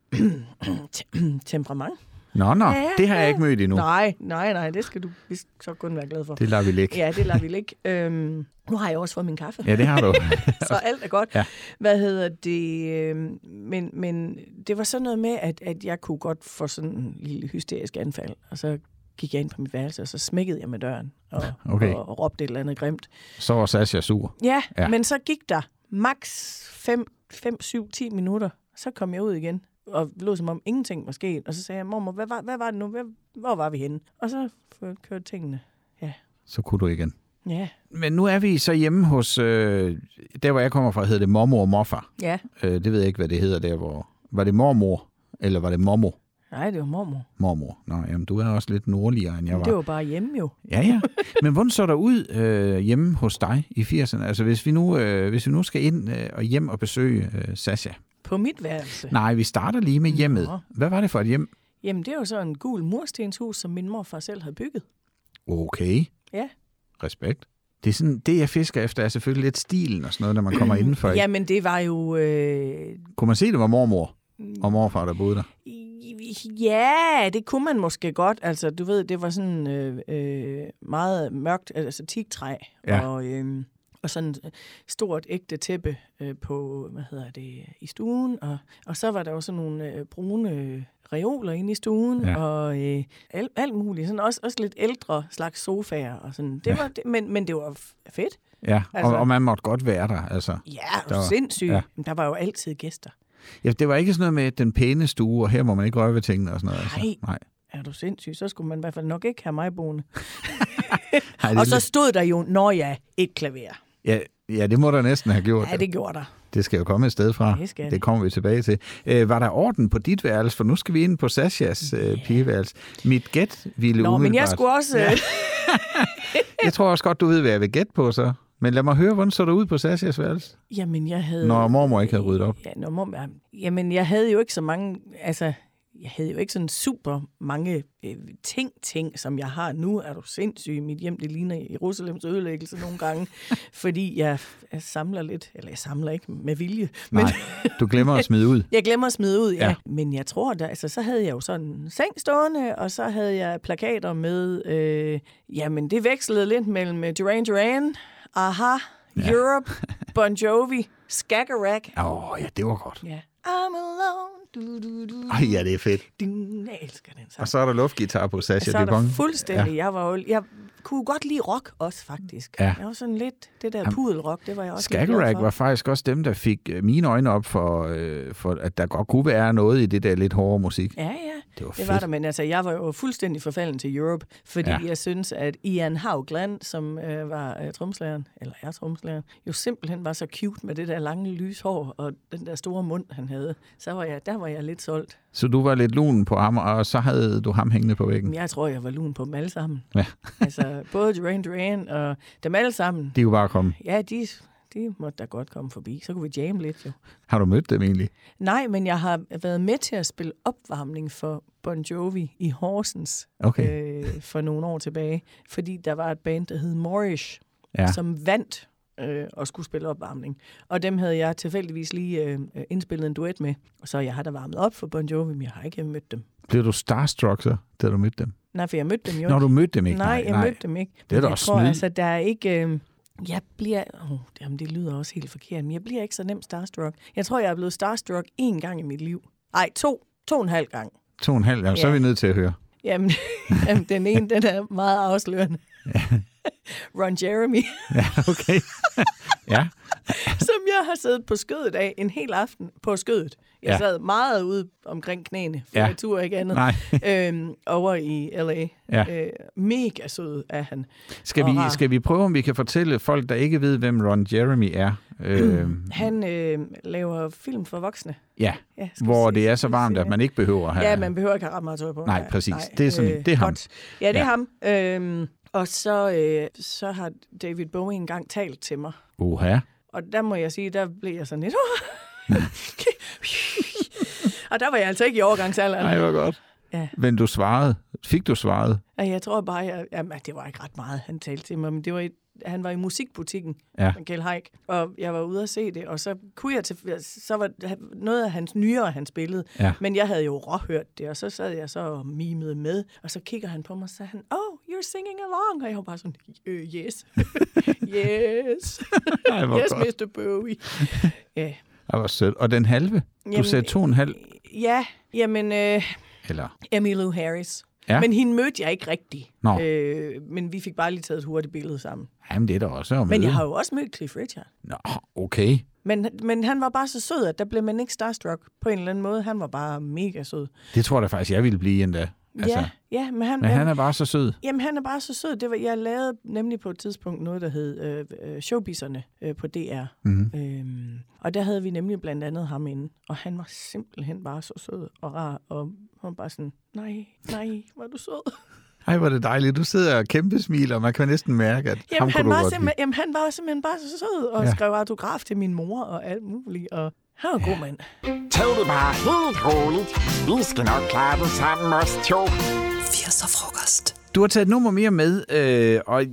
S1: te- temperament.
S2: Nå, nå,
S1: ja,
S2: det har jeg ikke mødt endnu.
S1: Nej, nej, nej, det skal du vist så kun være glad for.
S2: Det lader vi ligge.
S1: Ja, det lader vi ligge. Øhm, nu har jeg også fået min kaffe.
S2: Ja, det har du.
S1: så alt er godt.
S2: Ja.
S1: Ja. Hvad hedder det? øhm, Men, men det var sådan noget med, at, at jeg kunne godt få sådan en lille hysterisk anfald, og så gik jeg ind på mit værelse, og så smækkede jeg med døren og,
S2: Okay.
S1: og, og råbte et eller andet grimt.
S2: Så var Sasha sur.
S1: Ja,
S2: Ja.
S1: ja. men så gik der maks 5, 5, 7, 10 minutter, så kom jeg ud igen. og lå som om ingenting var sket. Og så sagde jeg, mormor, hvad var, hvad var det nu? Hvad, hvor var vi henne? Og så f- kørte tingene. Ja,
S2: Så kunne du igen.
S1: ja,
S2: Men nu er vi så hjemme hos, øh, der hvor jeg kommer fra, hedder det mormor og morfar.
S1: ja.
S2: Øh, det ved jeg ikke, hvad det hedder der, hvor... Var det mormor, eller var det mormor?
S1: Nej, det var mormor.
S2: Mormor. Nå, jamen, du er også lidt nordligere, end jeg var.
S1: Det var bare hjemme jo.
S2: Ja, ja. Men hvordan så der ud øh, hjemme hos dig i 80'erne? Altså, hvis vi nu, øh, hvis vi nu skal ind øh, og hjem og besøge øh, Sasha.
S1: På mit værelse.
S2: Nej, vi starter lige med hjemmet.
S1: Nå.
S2: Hvad var det for et hjem?
S1: Jamen, det er jo så en gul murstenshus, som min morfar selv havde bygget.
S2: Okay,
S1: Ja.
S2: respekt. Det, er sådan, det, jeg fisker efter, er selvfølgelig lidt stilen og sådan noget, når man kommer indenfor. Ja.
S1: Jamen, det var jo... Øh,
S2: Kunne man se, det var mormor og morfar, der boede der?
S1: ja, det kunne man måske godt. Altså, du ved, det var sådan øh, øh, meget mørkt, altså teaktræ.
S2: Ja.
S1: Og, øh, og sådan et stort ægte tæppe øh, på, hvad hedder det, i stuen. Og, og så var der jo sådan nogle øh, brune øh, reoler inde i stuen,
S2: Ja.
S1: ja. og øh, alt, alt muligt. Sådan også, også lidt ældre slags sofaer. Og sådan. Det ja. var, det, men, men det var f- fedt.
S2: Ja, altså.
S1: Altså-
S2: og, og man måtte godt være der. Altså.
S1: Ja,
S2: Der
S1: der
S2: var-
S1: var, sindssygt.
S2: ja.
S1: Ja. Der var jo altid gæster.
S2: Ja, det var ikke sådan noget med den pæne stue, og her må man ikke røre ved tingene og sådan noget. Altså.
S1: Nej.
S2: Nej.
S1: Er du sindssyg? Så skulle man i hvert fald nok ikke have mig boende.
S2: Ej, det er
S1: Og så
S2: lidt-
S1: stod der jo, når jeg et klaver.
S2: ja, ja, det må der næsten have gjort.
S1: Ja, det gjorde der.
S2: Det skal jo komme et sted fra.
S1: Det skal
S2: det
S1: det.
S2: kommer vi tilbage til. Øh, var der orden på dit værelse? For nu skal vi ind på Sashas øh, pigeværelse. Mit gæt ville
S1: Nå, men jeg
S2: umiddelbart-
S1: skulle også... Ja.
S2: jeg tror også godt, du ved, hvad jeg vil gætte på så. Men lad mig høre, hvordan så det ud på Sashas værelse?
S1: Jamen, jeg havde...
S2: Når mormor ikke havde ryddet op.
S1: Ja, når mor... ja, Jamen, jeg havde jo ikke så mange... Altså, jeg havde jo ikke sådan super mange øh, ting-ting, som jeg har nu. Er du sindssyg? Mit hjem, det ligner Jerusalems ødelæggelse nogle gange, fordi jeg, jeg samler lidt. Eller jeg samler ikke med vilje. Men,
S2: Nej, du glemmer at smide ud.
S1: Jeg glemmer at smide ud, ja.
S2: Ja.
S1: ja. Men jeg tror da, altså så havde jeg jo sådan en seng stående, og så havde jeg plakater med, øh, jamen det vekslede lidt mellem øh, Duran Duran, Aha, ja. Europe, Bon Jovi, Skagerrak.
S2: Åh, oh, ja, det var godt.
S1: Ja. I'm alone, du, du, du,
S2: Ej, ja, det er fedt.
S1: du. Jeg elsker den
S2: Og
S1: sang.
S2: så er der luftgitar på Sasha.
S1: Så er
S2: det kongen.
S1: der fuldstændig, jeg var jo, jeg kunne godt lide rock også faktisk.
S2: Ja.
S1: Jeg var sådan lidt, det der pudelrock, det var jeg også lidt glad
S2: Skagerrak
S1: for.
S2: var faktisk også dem, der fik øh, mine øjne op for, øh, for, at der godt kunne være noget i det der lidt hårde musik.
S1: Ja, ja.
S2: Det var
S1: det var
S2: fedt.
S1: der, men altså, jeg var jo fuldstændig forfalden til Europe, fordi
S2: Ja.
S1: ja. jeg synes, at Ian Haugland, som øh, var øh, tromslæren, eller er tromslæren, jo simpelthen var så cute med det der lange lyshår og den der store mund, han havde. Så var jeg, der var jeg lidt solgt.
S2: Så du var lidt lun på ham, og så havde du ham hængende på væggen.
S1: Men jeg tror, jeg var lun på dem alle sammen.
S2: Ja.
S1: altså, både Duran Duran og dem alle sammen.
S2: De kunne bare komme.
S1: Ja, de, de måtte da godt komme forbi. Så kunne vi jamme lidt, jo.
S2: Har du mødt dem egentlig?
S1: Nej, men jeg har været med til at spille opvarmning for Bon Jovi i Horsens
S2: Okay.
S1: øh, for nogle år tilbage, fordi der var et band, der hed Moorish,
S2: Ja.
S1: ja. som vandt øh, og skulle spille opvarmning. Og dem havde jeg tilfældigvis lige øh, øh, indspillet en duet med, og så jeg har da varmet op for Bon Jovi, men jeg har ikke mødt dem.
S2: Blev du starstruck så, da du mødte dem?
S1: Nej, for jeg mødte dem jo
S2: Når
S1: ikke.
S2: du mødte dem ikke?
S1: nej, jeg mødte dem ikke.
S2: Det er da
S1: jeg
S2: også
S1: tror,
S2: snyd.
S1: altså, der er ikke... Øh, jeg bliver... Oh, jamen, det lyder også helt forkert, men jeg bliver ikke så nemt starstruck. Jeg tror, jeg er blevet starstruck én gang i mit liv. Ej, to. To og en halv gang.
S2: To og en halv, jamen, så er
S1: Ja.
S2: vi nødt til at høre.
S1: Jamen, jamen den ene, den er meget afslørende. Ron Jeremy,
S2: Okay. ja,
S1: som jeg har siddet på skødet af en hel aften på skødet. Jeg
S2: Ja.
S1: ja. sad meget ude omkring knæene, for
S2: Ja.
S1: ja. jeg turde ikke andet.
S2: Nej.
S1: øhm, over i L.A.
S2: Ja. Mm.
S1: Øh, mega sød er han.
S2: skal
S1: Og
S2: vi,
S1: rar.
S2: skal vi prøve, om vi kan fortælle folk, der ikke ved, hvem Ron Jeremy er? Øh,
S1: Han øh, laver film for voksne.
S2: ja,
S1: Ja, skal vi
S2: hvor
S1: se-
S2: det er så
S1: skal vi
S2: varmt,
S1: se
S2: at
S1: det?
S2: man ikke behøver at have...
S1: Ja, man behøver ikke have ret meget tøj på. øh,
S2: Nej, præcis. Det er sådan en- det er ham.
S1: godt. Ja, det er
S2: Ja.
S1: ham. Øhm, og så, øh, så har David Bowie engang talt til mig.
S2: Oha.
S1: Og der må jeg sige, der blev jeg sådan lidt... og der var jeg altså ikke i overgangsalderen.
S2: Nej, hvor godt.
S1: Ja.
S2: Men du svarede. Fik du svaret?
S1: Og jeg tror bare, jeg, jamen, det var ikke ret meget, han talte til mig, men det var i, han var i musikbutikken,
S2: Ja.
S1: Kjell Haik, og jeg var ude at se det, og så kunne jeg til, så var noget af hans nyere, han spillede,
S2: Ja.
S1: men jeg havde jo råhørt det, og så sad jeg så og mimede med, og så kigger han på mig, og så sagde han, oh, you're singing along, og jeg var bare sådan, øh, yes, yes,
S2: Ej, hvor
S1: yes,
S2: godt.
S1: Mr. Bowie. ja.
S2: Ej, hvor sødt. Og den halve? Du
S1: Jamen,
S2: sagde to og en halv,
S1: ja, jamen, øh,
S2: eller?
S1: Emmylou Harris.
S2: Ja.
S1: Men hende mødte jeg ikke rigtig.
S2: Nå.
S1: Øh, men vi fik bare lige taget et hurtigt billede sammen.
S2: Jamen, det er der også at
S1: Men
S2: møde.
S1: jeg har jo også mødt Cliff Richard.
S2: Nå, okay.
S1: Men, men han var bare så sød, at der blev man ikke starstruck på en eller anden måde. Han var bare mega sød.
S2: Det tror jeg da faktisk, jeg ville blive endda. Altså,
S1: ja, ja, men han,
S2: Men han er bare så sød.
S1: Jamen, han er bare så sød. Det var, jeg lavede nemlig på et tidspunkt noget, der hed øh, øh, Showbizerne øh, på DR.
S2: Mhm.
S1: Mm. Øhm, og der havde vi nemlig blandt andet ham inde. Og han var simpelthen bare så sød og rar. Og han var bare sådan, nej, nej, var du sød.
S2: Ej, hvor er det dejligt. Du sidder og kæmpe smiler, og man kan næsten mærke, at ham
S1: Jamen,
S2: kunne
S1: han
S2: du
S1: var,
S2: godt lide.
S1: simpelthen, jamen han var simpelthen bare så sød og
S2: Ja.
S1: ja. skrev autograf til min mor og alt muligt. Og han var en god mand.
S8: Tag det bare helt roligt. Vi skal nok klare det sammen os to.
S3: 80'er frokost.
S2: Du har taget et nummer mere med, øh, og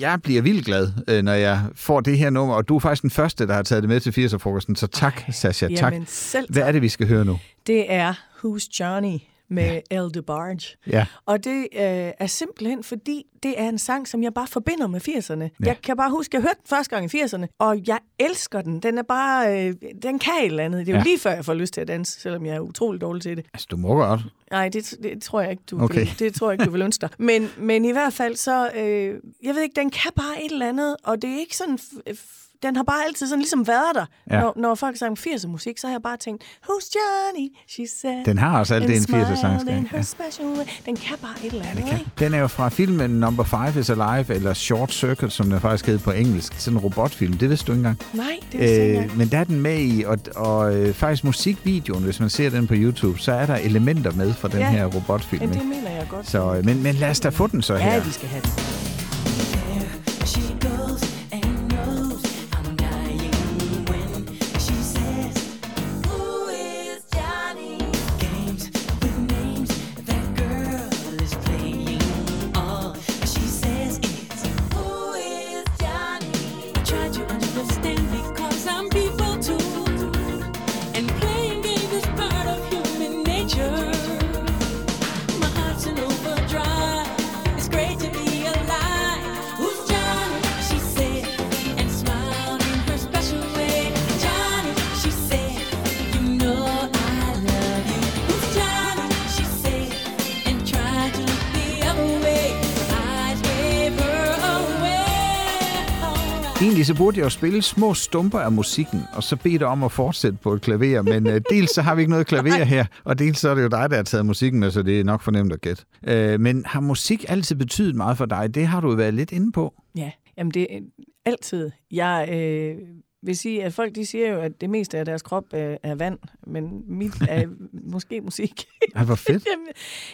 S2: jeg bliver vildt glad, øh, når jeg får det her nummer. Og du er faktisk den første, der har taget det med til 80'er-frokosten, så tak, Ej, Sasha, tak.
S1: Jamen, selv
S2: Hvad er det, vi skal høre nu?
S1: Det er Who's Johnny med ja. El DeBarge.
S2: Ja.
S1: Og det øh, er simpelthen fordi, det er en sang, som jeg bare forbinder med 80'erne. Ja. Jeg kan bare huske, jeg hørte den første gang i 80'erne, og jeg elsker den. Den er bare, øh, den kan et eller andet. Det er jo
S2: Ja.
S1: ja. lige før, jeg får lyst til at danse, selvom jeg er utrolig dårlig til det.
S2: Altså, du må godt.
S1: Nej, det, det tror jeg ikke, du
S2: Okay.
S1: okay. vil, det tror jeg ikke, du vil ønske dig. Men, men i hvert fald så, øh, jeg ved ikke, den kan bare et eller andet, og det er ikke sådan, f- f- den har bare altid sådan ligesom været der.
S2: Ja.
S1: Ja. Når, når folk sang 80'er musik, så har jeg bare tænkt, who's Johnny, she said.
S2: Den har også alt det, en
S1: smiled
S2: 80'er sang skal.
S1: in
S2: Ja.
S1: her special way. Den kan bare et eller andet,
S2: Ja.
S1: ikke?
S2: Den er jo fra filmen Number 5 is Alive, eller Short Circuit, som den faktisk hed på engelsk. Sådan en robotfilm, det vidste du ikke engang.
S1: Nej, det er øh,
S2: Øh, men der er den med i, og, og øh, faktisk musikvideoen, hvis man ser den på YouTube, så er der elementer med fra den
S1: Ja.
S2: her robotfilm.
S1: Men
S2: ikke?
S1: det mener jeg godt.
S2: Så, øh, men, men lad os da få den så her.
S1: ja, vi skal have den.
S5: She goes and knows I'm dying when she says, Who is Johnny? Games with names that girl is playing. All she says is, Who is Johnny? I try to understand because I'm people too. And playing games is part of human nature. My heart's in overdrive. It's great to be alive. Who's Johnny? She said, and smiled in her special way. Johnny, she said, you know I love you. Who's Johnny? She said, and tried to look the other way. I gave her away.
S2: Egentlig så burde jeg jo spille små stumper af musikken, og så bede dig om at fortsætte på et klaver, men øh, dels så har vi ikke noget klaver her, og dels så er det jo dig, der har taget musikken med, så det er nok for nemt at gætte. Øh, men har musik altid betydet meget for dig? Det har du jo været lidt inde på.
S1: Ja, jamen det er altid. Jeg øh, vil sige, at folk de siger jo, at det meste af deres krop øh, er vand, men mit er måske musik.
S2: Ej, hvor fedt.
S1: jamen,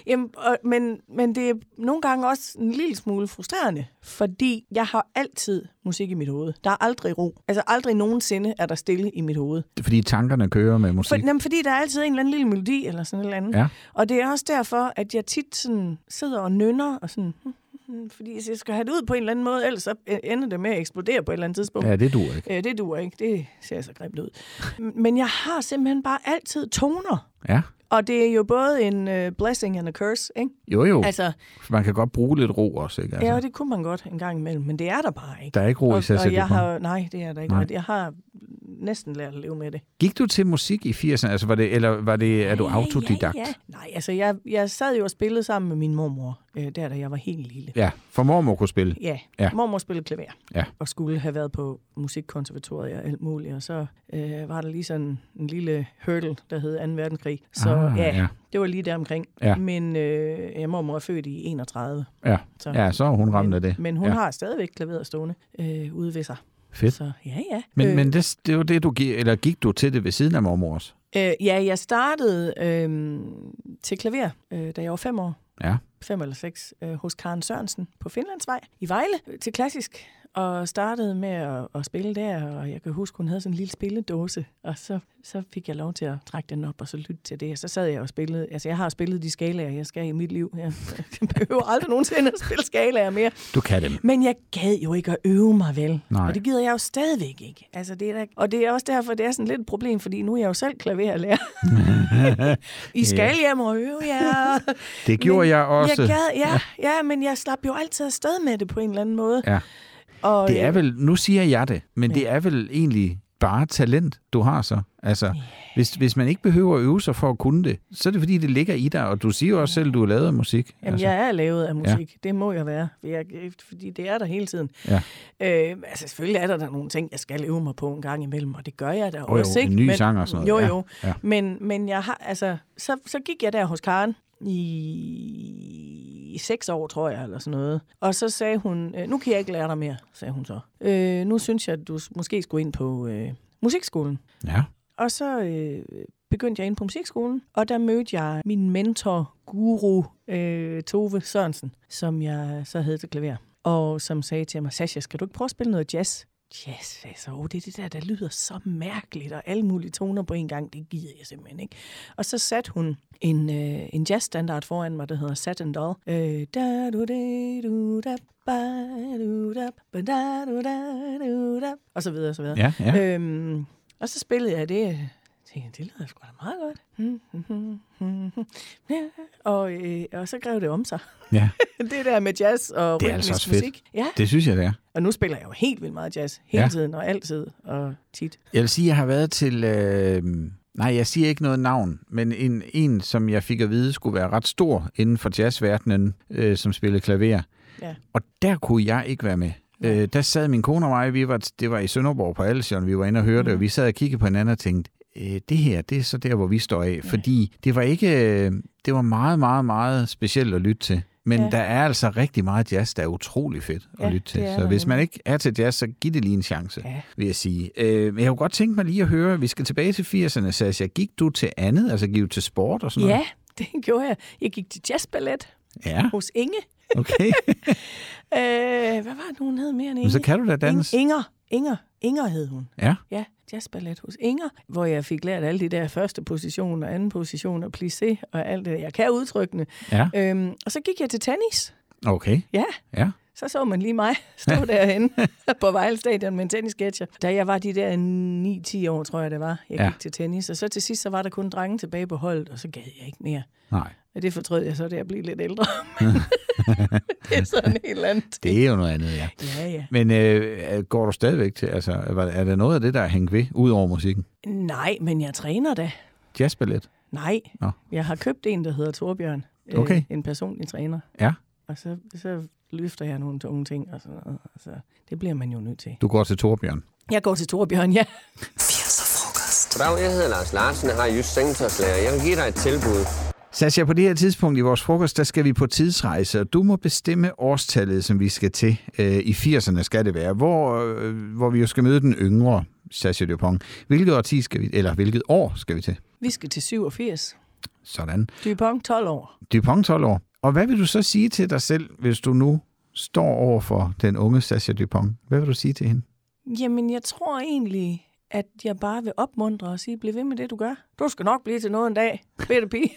S1: jamen, og, men, men det er nogle gange også en lille smule frustrerende, fordi jeg har altid musik i mit hoved. Der er aldrig ro. Altså aldrig nogensinde er der stille i mit hoved.
S2: Fordi tankerne kører med
S1: For,
S2: musik.
S1: jamen, fordi der er altid en eller anden lille melodi eller sådan et eller andet.
S2: Ja.
S1: Og det er også derfor, at jeg tit sådan sidder og nynner, og sådan, hmm, hmm, hmm, fordi jeg skal have det ud på en eller anden måde, ellers så ender det med at eksplodere på et eller andet tidspunkt.
S2: Ja, det duer ikke.
S1: Øh, det duer ikke. Det ser så grimt ud. Men jeg har simpelthen bare altid toner.
S2: Ja.
S1: Og det er jo både en uh, blessing and a curse, ikke?
S2: Jo, jo. Altså,
S1: Altså,
S2: man kan godt bruge lidt ro også, ikke?
S1: ja,
S2: Altså,
S1: og det kunne man godt en gang imellem, men det er der bare ikke.
S2: der er ikke ro i
S1: og, og
S2: Sasha
S1: jeg
S2: Dupont.
S1: har, nej, det er der ikke.
S2: Nej.
S1: Nej. Jeg har næsten lært at leve med det.
S2: Gik du til musik i 80'erne? Altså, var det, eller var det, er du
S1: Ja,
S2: autodidakt?
S1: Ja, ja. Nej, altså jeg, jeg sad jo og spillede sammen med min mormor, øh, der da jeg var helt lille.
S2: ja. for mormor kunne spille.
S1: Ja,
S2: Ja.
S1: ja. mormor spillede klaver
S2: Ja.
S1: og skulle have været på musikkonservatoriet og alt muligt, og så øh, var der lige sådan en lille hurdle, der hed 2. verdenskrig. Så
S2: Ah,
S1: ah, ja,
S2: ja.
S1: ja, det var lige der omkring.
S2: Ja.
S1: Men øh, ja, mormor er født i 31,
S2: Ja,
S1: Så-
S2: ja så er hun ramt af det.
S1: men hun
S2: ja.
S1: ja. har stadigvæk klaveret stående øh, ude ved sig.
S2: Fedt.
S1: Så ja, ja.
S2: Men,
S1: Øh,
S2: men det, det var det, du gik, eller gik du til det ved siden af mormors?
S1: Øh, ja, jeg startede øh, til klaver, øh, da jeg var fem år.
S2: Ja.
S1: Fem eller seks. Øh, hos Karen Sørensen på Finlandsvej i Vejle øh, til klassisk. Og startede med at, at spille der, og jeg kan huske, hun havde sådan en lille spilledåse. Og så, så fik jeg lov til at trække den op og så lytte til det. Og så sad jeg og spillede. Altså, jeg har spillet de skalaer, jeg skal i mit liv. Jeg, jeg behøver aldrig nogensinde at spille skalaer mere.
S2: Du kan dem.
S1: Men jeg gad jo ikke at øve mig vel.
S2: Nej.
S1: Og det gider jeg jo stadigvæk ikke. Altså, det er da, og det er også derfor, det er sådan lidt et problem, fordi nu er jeg jo selv klaverlærer. I skal hjem og øve jer.
S2: Det gjorde jeg også.
S1: Jeg gad, ja, ja, men jeg slap jo altid afsted med det på en eller anden måde.
S2: Ja.
S1: Og,
S2: Det er
S1: øh,
S2: vel, nu siger jeg det, men det er vel egentlig bare talent, du har så. Altså, yeah. hvis, hvis man ikke behøver at øve sig for at kunne det, så er det fordi, det ligger i dig, og du siger jo også selv, du er lavet af musik.
S1: Jamen,
S2: altså,
S1: altså, jeg er lavet af musik. Ja. Det må jeg være, for jeg, fordi det er der hele tiden.
S2: Ja.
S1: Øh, altså, selvfølgelig er der, der nogle ting, jeg skal øve mig på en gang imellem, og det gør jeg da
S2: jo,
S1: også, ikke?
S2: en ny sang og sådan noget.
S1: Jo, jo.
S2: Ja, ja.
S1: Men, men jeg har, altså, så, så gik jeg der hos Karen i seks år, tror jeg, eller sådan noget. Og så sagde hun, øh, nu kan jeg ikke lære dig mere, sagde hun så. Øh, nu synes jeg, at du s- måske skulle ind på øh, musikskolen.
S2: Ja.
S1: Og så øh, begyndte jeg ind på musikskolen, og der mødte jeg min mentor, guru øh, Tove Sørensen, som jeg så havde til klaver, og som sagde til mig, Sasha, skal du ikke prøve at spille noget jazz? Jazz, sagde jeg så, oh, det er det der, der lyder så mærkeligt, og alle mulige toner på en gang, det gider jeg simpelthen ikke. Og så satte hun en, øh, en jazzstandard foran mig, der hedder Sat and Doll. Øh, da du de du da ba du da ba da du da du da og så videre, og så videre.
S2: Ja, ja.
S1: Øhm, og så spillede jeg det. Jeg tænkte, det lyder sgu da meget godt. Hmm, hmm, hmm, hmm, hmm. Ja, og, øh, og så grev det om sig.
S2: ja.
S1: det der med jazz og
S2: Det er
S1: rytmisk
S2: altså også fedt.
S1: musik. Ja,
S2: Det synes jeg, det er.
S1: og nu spiller jeg jo helt vildt meget jazz. Hele
S2: Ja.
S1: ja. tiden og altid og tit.
S2: Jeg vil sige, jeg har været til... Øh, nej, jeg siger ikke noget navn, men en, en, som jeg fik at vide, skulle være ret stor inden for jazzverdenen, øh, som spillede klaver.
S1: Ja.
S2: Og der kunne jeg ikke være med. Øh, der sad min kone og mig, vi var, det var i Sønderborg på Alsion, vi var inde og hørte, mm. og vi sad og kiggede på hinanden og tænkte, øh, det her, det er så der, hvor vi står af. Fordi det var ikke, øh, det var meget, meget, meget specielt at lytte til. Men ja. der er altså rigtig meget jazz, der er utrolig fedt at
S1: Ja,
S2: lytte til.
S1: det er
S2: Så
S1: der
S2: hvis man ikke er til jazz, så giv det lige en chance, ja.
S1: Ja.
S2: vil jeg sige. Øh, men jeg kunne godt tænke mig lige at høre, vi skal tilbage til 80'erne, Sascha. Gik du til andet? Altså gik du til sport og sådan
S1: Ja,
S2: noget?
S1: det gjorde jeg. Jeg gik til jazzballet
S2: Ja.
S1: hos Inge.
S2: Okay.
S1: Øh, hvad var det, nu, hun hed mere end Inge?
S2: Men så kan du da
S1: Inge-
S2: danse.
S1: Inger. Inger. Inger hed hun.
S2: Ja.
S1: Ja, jazzballet hos Inger, hvor jeg fik lært alle de der første position og anden position og plissé og alt det der. Jeg kan udtrykkende.
S2: Ja.
S1: Øhm, og så gik jeg til tennis.
S2: Okay.
S1: Ja,
S2: Ja.
S1: så så man lige mig stå derhen på Vejle Stadion med en tennissketcher. Da jeg var de der 9-10 år, tror jeg det var, jeg
S2: Ja.
S1: ja. gik til tennis. Og så til sidst, så var der kun drenge tilbage på holdet, og så gad jeg ikke mere.
S2: Nej.
S1: Og det fortrød jeg så, da jeg blev lidt ældre. det er sådan en helt andet.
S2: Det er jo noget andet, ja.
S1: Ja, ja.
S2: Men øh, går du stadigvæk til, altså er er der noget af det, der er hængt ved, ud over musikken?
S1: Nej, men jeg træner da.
S2: Jazzballet?
S1: Nej.
S2: Nå.
S1: Jeg har købt en, der hedder Torbjørn. Øh,
S2: Okay.
S1: En personlig træner.
S2: Ja,
S1: Og så, så løfter jeg nogle tunge ting og sådan noget. Og så, det bliver man jo nødt til.
S2: du går til Torbjørn.
S1: Jeg går til Torbjørn, ja.
S3: 80'er frokost.
S9: Goddag, jeg hedder Lars Larsen og har just sengtøjslærer. Jeg vil give dig et tilbud.
S2: Sascha, på det her tidspunkt i vores frokost, der skal vi på tidsrejse, og du må bestemme årstallet, som vi skal til. Øh, I 80'erne skal det være, hvor, øh, hvor vi jo skal møde den yngre Sascha Dupont. Hvilket årti skal vi, eller hvilket år skal vi til?
S1: Vi skal til 87.
S2: Sådan.
S1: Dupont, 12 år.
S2: Dupont 12 år. Og hvad vil du så sige til dig selv, hvis du nu står over for den unge Sascha Dupont? Hvad vil du sige til hende?
S1: Jamen, jeg tror egentlig, at jeg bare vil opmuntre og sige, bliv ved med det, du gør. Du skal nok blive til noget en dag, bedre pige.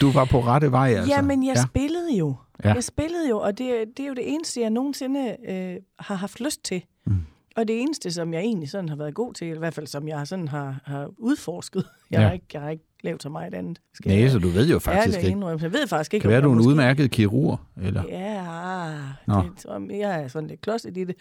S2: Du var på rette vej, altså.
S1: Altså, Jamen, jeg ja. spillede jo.
S2: Ja.
S1: Ja. Jeg spillede jo, og det, det er jo det eneste, jeg nogensinde øh, har haft lyst til. Mm. Og det eneste, som jeg egentlig sådan har været god til, eller i hvert fald som jeg sådan har, har udforsket. Jeg,
S2: Ja.
S1: ja. har ikke, jeg har ikke lavet så meget andet. Skal
S2: Nej,
S1: jeg
S2: så du ved jo faktisk
S1: ærligt
S2: ikke.
S1: indrømme. Jeg ved faktisk ikke,
S2: Kan være,
S1: om
S2: du er
S1: jeg
S2: en
S1: måske-
S2: udmærket kirurg, eller? Nå.
S1: Ja, det, tror jeg- jeg er sådan lidt klodset i det.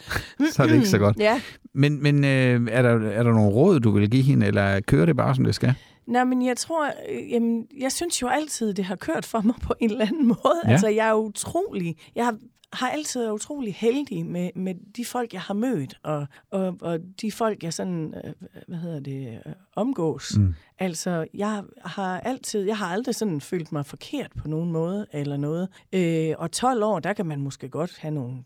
S2: Så er det ikke så godt.
S1: Ja,
S2: Men, men øh, er, der, er der nogle råd, du vil give hende, eller kører det bare, som det skal?
S1: Nå, men jeg tror, øh, jamen, jeg synes jo altid, det har kørt for mig på en eller anden måde.
S2: Ja.
S1: Ja. Altså, jeg er utrolig, jeg har, har altid været utrolig heldig med, med de folk, jeg har mødt, og, og, og de folk, jeg sådan, øh, hvad hedder det, øh, omgås. Mm. Altså, jeg har altid, jeg har aldrig sådan følt mig forkert på nogen måde, eller noget. Øh, og 12 år, der kan man måske godt have nogle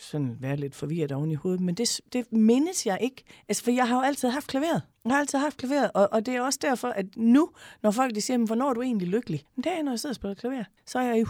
S1: sådan være lidt forvirret oven i hovedet, men det, det mindes jeg ikke. Altså, for jeg har jo altid haft klaveret. Jeg har altid haft klaveret, og, og det er også derfor, at nu, når folk de siger, "Men hvornår er du egentlig lykkelig? Men det er, når jeg sidder og spiller klaver. Så er jeg i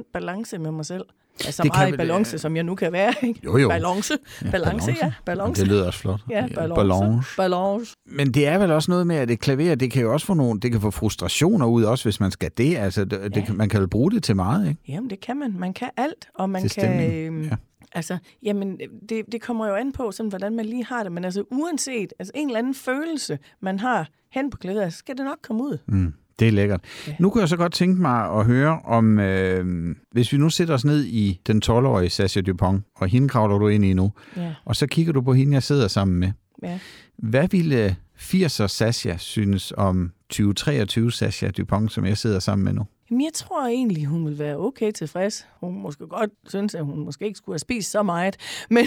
S1: 100% balance med mig selv. Altså, så
S2: Det kan
S1: meget i
S2: vel- øh,
S1: balance, som jeg nu kan være. Ikke?
S2: Jo, jo.
S1: Balance. Ja, balance, ja. Balance.
S2: Det lyder også flot.
S1: Ja, balance.
S2: balance.
S1: Balance.
S2: Men det er vel også noget med, at et klaver, det kan jo også få nogle, det kan få frustrationer ud, også hvis man skal det. Altså, det, ja. det, kan- man kan jo bruge det til meget, ikke?
S1: Jamen, det kan man. Man kan alt, og man
S2: Til
S1: kan...
S2: stemning, ja.
S1: Altså, jamen, det, det kommer jo an på, sådan, hvordan man lige har det. Men altså, uanset altså, en eller anden følelse, man har hen på klaveret, så skal det nok komme ud.
S2: Mm, det er lækkert. Ja. Nu kunne jeg så godt tænke mig at høre om, øh, hvis vi nu sætter os ned i den 12-årige Sascha Dupont, og hende kravler du ind i nu,
S1: Ja.
S2: og så kigger du på hende, jeg sidder sammen med.
S1: ja.
S2: Hvad ville 80'er Sasha synes om 2023 Sasha Dupont, som jeg sidder sammen med nu?
S1: Jamen, jeg tror egentlig, hun vil være okay tilfreds. Hun måske godt synes, at hun måske ikke skulle have spist så meget. Men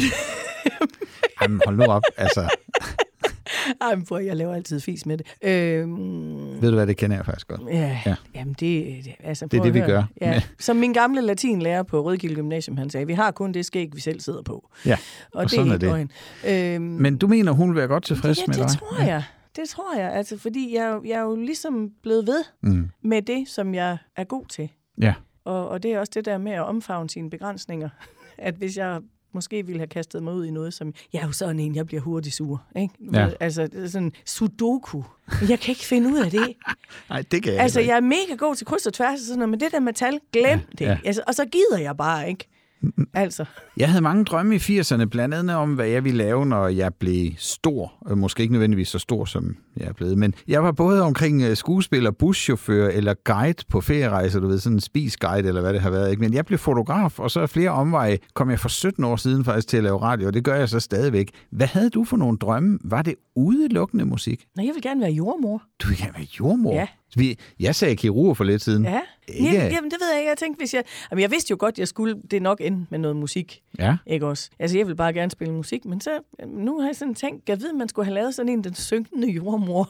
S2: Jamen, hold nu op. Altså,
S1: Ej, men prøv, jeg laver altid fis med det. Øhm,
S2: ved du hvad, det kender jeg faktisk godt.
S1: ja,
S2: Ja.
S1: ja, jamen det, det- altså,
S2: Det er
S1: prøv
S2: det,
S1: at
S2: vi
S1: høre.
S2: gør.
S1: Ja.
S2: Ja.
S1: Som min gamle latinlærer på Rødgilde Gymnasium, han sagde, vi har kun det skæg, vi selv sidder på.
S2: Ja,
S1: Og,
S2: og
S1: det er
S2: sådan er
S1: helt
S2: det.
S1: løgn. Øhm,
S2: Men du mener, hun vil være godt tilfreds
S1: ja,
S2: med
S1: det
S2: dig?
S1: tror jeg. Det tror jeg, altså, fordi jeg, er jo- jeg er jo ligesom blevet ved mm. med det, som jeg er god til.
S2: Ja.
S1: Og, og det er også det der med at omfavne sine begrænsninger. At hvis jeg måske ville have kastet mig ud i noget, som... Jeg er jo sådan en, jeg bliver hurtigt sur. Ikke?
S2: Ja.
S1: Ved- Altså, det er sådan sudoku. Jeg kan ikke finde ud af det.
S2: Nej, det kan jeg
S1: altså,
S2: heller
S1: jeg er mega god til kryds og tværs og sådan noget, men det der med tal, glem det.
S2: ja. Mm,
S1: Altså, og så gider jeg bare ikke. Altså,
S2: ikke. jeg havde mange drømme i 80'erne, blandt andet om, hvad jeg ville lave, når jeg blev stor. Øh, Måske ikke nødvendigvis så stor, som jeg er blevet, men jeg var både omkring øh, skuespiller, buschauffør eller guide på ferierejser, du ved, sådan en spisguide eller hvad det har været. Ikke? Men jeg blev fotograf, og så af flere omveje kom jeg for 17 år siden faktisk til at lave radio, og det gør jeg så stadigvæk. Hvad havde du for nogle drømme? Var det udelukkende musik?
S1: nej, jeg vil gerne være jordmor.
S2: Du vil gerne være jordmor?
S1: Ja.
S2: Vi, jeg sagde kirurg for lidt siden.
S1: Ja.
S2: Ikke?
S1: Jamen, jamen, det ved jeg ikke. Jeg tænkte, hvis jeg... Jamen, jeg vidste jo godt, jeg skulle det nok ende med noget musik.
S2: ja.
S1: Ikke også? Altså, jeg vil bare gerne spille musik, men så, øhm, nu har jeg sådan tænkt, jeg ved, man skulle have lavet sådan en, den synkende jordmor.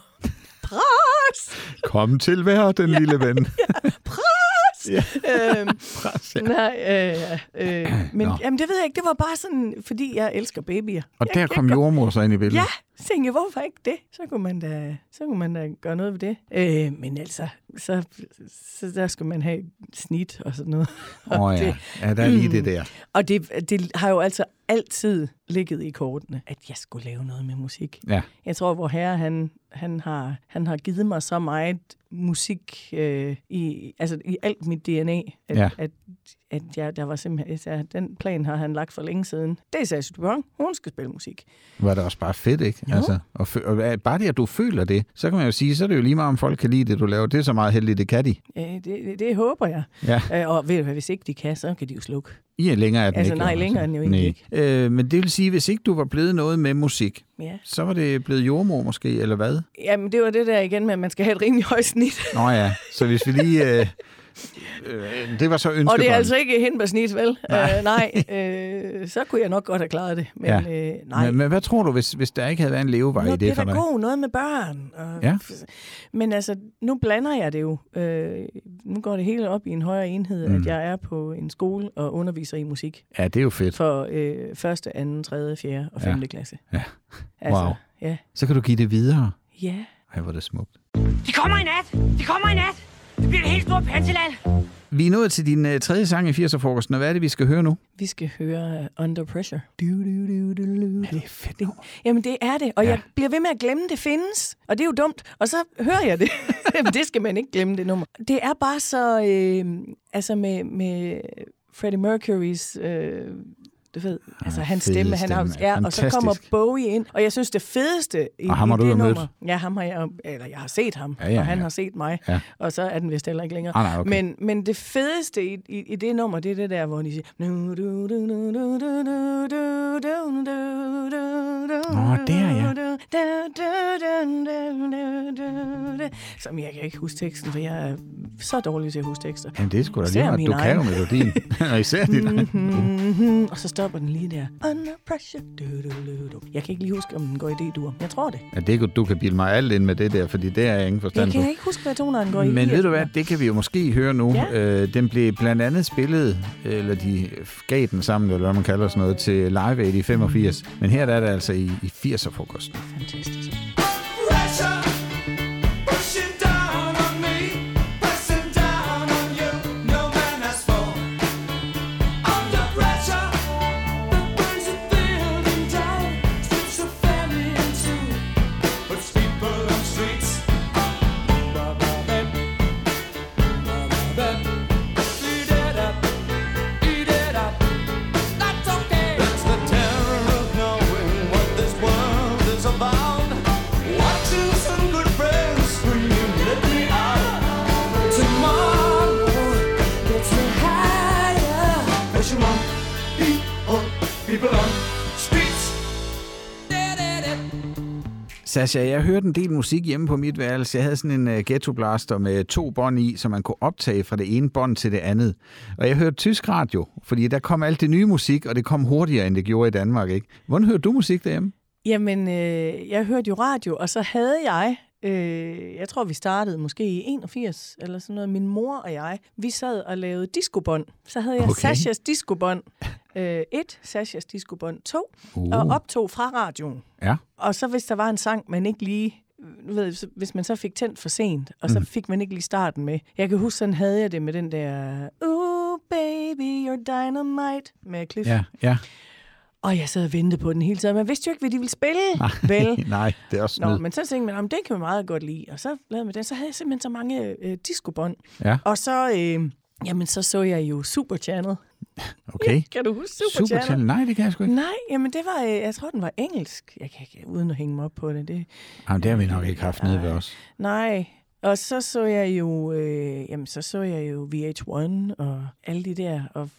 S1: Pres!
S2: Kom til hver, den lille ven.
S1: Pres! Ja. Øhm,
S2: Pres, ja.
S1: nej, øh, øh, men
S2: Nå.
S1: jamen, det ved jeg ikke. Det var bare sådan, fordi jeg elsker babyer.
S2: Og
S1: jeg,
S2: der
S1: jeg,
S2: kom jordmor så ind i billedet.
S1: Ja, så tænkte jeg, hvorfor ikke det? Så kunne man da, så kunne man da gøre noget ved det. Øh, men altså, så, så der skulle man have snit og sådan noget.
S2: Åh oh,
S1: Og
S2: ja.
S1: det- Mm.
S2: ja, der er lige det der.
S1: Og det, det har jo altså altid ligget i kortene, at jeg skulle lave noget med musik.
S2: Ja.
S1: Jeg tror, hvor herre han, han, har, han har givet mig så meget musik øh, i, altså, i alt mit DNA, at,
S2: Ja.
S1: at, at jeg, der var simpelthen, altså, den plan har han lagt for længe siden. Det er Sasha Dupont, hun skal spille musik.
S2: Var det også bare fedt, ikke? Altså,
S1: Jo.
S2: og, fø- og hvad- bare det, at du føler det, så kan man jo sige, så er det jo lige meget, om folk kan lide det, du laver. Det er så meget heldigt, det kan de.
S1: Øh, det, det, det håber jeg.
S2: Ja.
S1: Øh, og ved du hvad, hvis ikke de kan, så kan de jo slukke.
S2: I er længere af den
S1: Altså,
S2: ikke.
S1: nej,
S2: jo,
S1: længere er den jo egentlig
S2: ikke. Øh, men det vil sige, hvis ikke du var blevet noget med musik,
S1: Ja.
S2: så var det blevet jordmor måske, eller hvad?
S1: Jamen, det var det der igen med, at man skal have et rimelig højt snit.
S2: Nå ja, så hvis vi lige... Øh, øh, det var så ønsket.
S1: Og det er altså ikke hindbærsnit, vel? Nej, øh, nej øh, så kunne jeg nok godt have klaret det. Men
S2: Ja.
S1: ja. øh, nej.
S2: Men, men hvad tror du, hvis, hvis der ikke havde været en levevej
S1: Nå,
S2: i det for dig?
S1: pædagog, noget med børn. Og,
S2: Ja.
S1: Men altså, nu blander jeg det jo. Øh, nu går det hele op i en højere enhed, mm. at jeg er på en skole og underviser i musik
S2: Ja, det er jo fedt.
S1: for øh, første, anden, tredje, fjerde og
S2: Ja.
S1: femte klasse.
S2: Ja.
S1: Altså,
S2: Wow.
S1: Ja.
S2: Så kan du give det videre.
S1: ja.
S2: Ej, hvor er det smukt.
S5: De kommer i nat! De kommer i nat! Det bliver det helt store panseland!
S2: Vi er nået til din øh, tredje sang i 80'er-frokosten, og hvad er det, vi skal høre nu?
S1: Vi skal høre uh, Under Pressure. Du, du, du, du, du. Er det fedt Jamen, det er det. Og
S2: Ja.
S1: ja. jeg bliver ved med at glemme, det findes. Og det er jo dumt. Og så hører jeg det. Jamen, det skal man ikke glemme, det nummer. Det er bare så... Øh, altså med, med Freddie Mercury's... Øh, du ved, altså hans
S2: fede
S1: stemme, han har,
S2: stemme.
S1: ja, og så
S2: Fantastisk.
S1: kommer Bowie ind, og jeg synes, det fedeste i,
S2: Og
S1: i
S2: ham har du
S1: det
S2: jo mødt.
S1: nummer, ja, ham har jeg, eller jeg har set ham,
S2: Ja, ja,
S1: og han
S2: ja.
S1: har set mig,
S2: Ja.
S1: og så er den vist heller ikke længere.
S2: Ah, nej, okay.
S1: Men, men det fedeste i, i, i det nummer, det er det der, hvor de siger... Nu, du, du, du, du, du, du, du, du, du, du, du,
S2: Nå, der, ja.
S1: du, du, du, du, du, du, du. Som jeg kan ikke huske teksten, for jeg er så dårlig til at huske tekster.
S2: Jamen, det er sgu da
S1: Især
S2: lige meget.
S1: min
S2: Du kan jo
S1: egen.
S2: melodien. og især din egen.
S1: Mhm, og så stopper den lige der. Under pressure. Du, du, du, du. Jeg kan ikke lige huske, om den går i D-dur. Jeg tror det.
S2: Ja, det kan, du kan bilde mig alt ind med det der, fordi det er jeg ingen
S1: Jeg
S2: forstand på.
S1: kan ikke huske, hvad tonerne går i.
S2: Men
S1: i-
S2: ved du hvad, det kan vi jo måske høre nu.
S1: Ja.
S2: Øh, den blev blandt andet spillet, eller de gav den sammen, eller hvad man kalder sådan noget, til Live Aid i 85. Men her der er det altså i, i 80'er-frokosten.
S1: Fantastisk.
S6: Pressure pushing down on me, pressing down on you. No man has fallen under pressure. That burns a building down, splits a family in two, puts people on streets. Ba-ba-bam, ba-ba-bam. Eat it up, eat it up. That's okay. That's the terror of knowing what this world is about. Watching some good friends scream, let me out. Tomorrow gets me higher. Pressure on people, people on streets. Da-da-da,
S2: Sasha, jeg hørte en del musik hjemme på mit værelse. Jeg havde sådan en uh, ghettoblaster med to bånd i, som man kunne optage fra det ene bånd til det andet. Og jeg hørte tysk radio, fordi der kom alt det nye musik, og det kom hurtigere, end det gjorde i Danmark. Ikke? Hvordan hørte du musik derhjemme?
S1: Jamen, øh, jeg hørte jo radio, og så havde jeg, øh, jeg tror vi startede måske i 81 eller sådan noget, min mor og jeg, vi sad og lavede discobånd. Så havde jeg
S2: Okay.
S1: okay. Sashas discobånd 1, øh, Sashas discobånd 2, uh. og optog fra radioen.
S2: Ja.
S1: Og så hvis der var en sang, man ikke lige... Nu ved, jeg, så- hvis man så fik tændt for sent, og så mm. fik man ikke lige starten med. Jeg kan huske, sådan havde jeg det med den der... Ooh, baby, you're dynamite med Cliff.
S2: Ja, ja.
S1: Og jeg sad og ventede på den hele tiden. Man vidste jo ikke, hvad de ville spille. Vel.
S2: Nej, det er også
S1: Nå,
S2: snyd.
S1: men så tænkte man, om den kan man meget godt lide. Og så lavede man den. Så havde jeg simpelthen så mange øh, discobånd.
S2: Ja.
S1: Og så, øh, jamen, så så jeg jo Super Channel.
S2: Okay.
S1: Kan du huske Super,
S2: Super Channel. Nej, det kan jeg sgu ikke.
S1: Nej, jamen det var, øh, jeg tror, den var engelsk. Jeg kan ikke, uden at hænge mig op på det. det
S2: Jamen, det har vi nok ikke haft nede ved os.
S1: nej. Og så så jeg jo, øh, jamen så så jeg jo VH1 og alle de der, og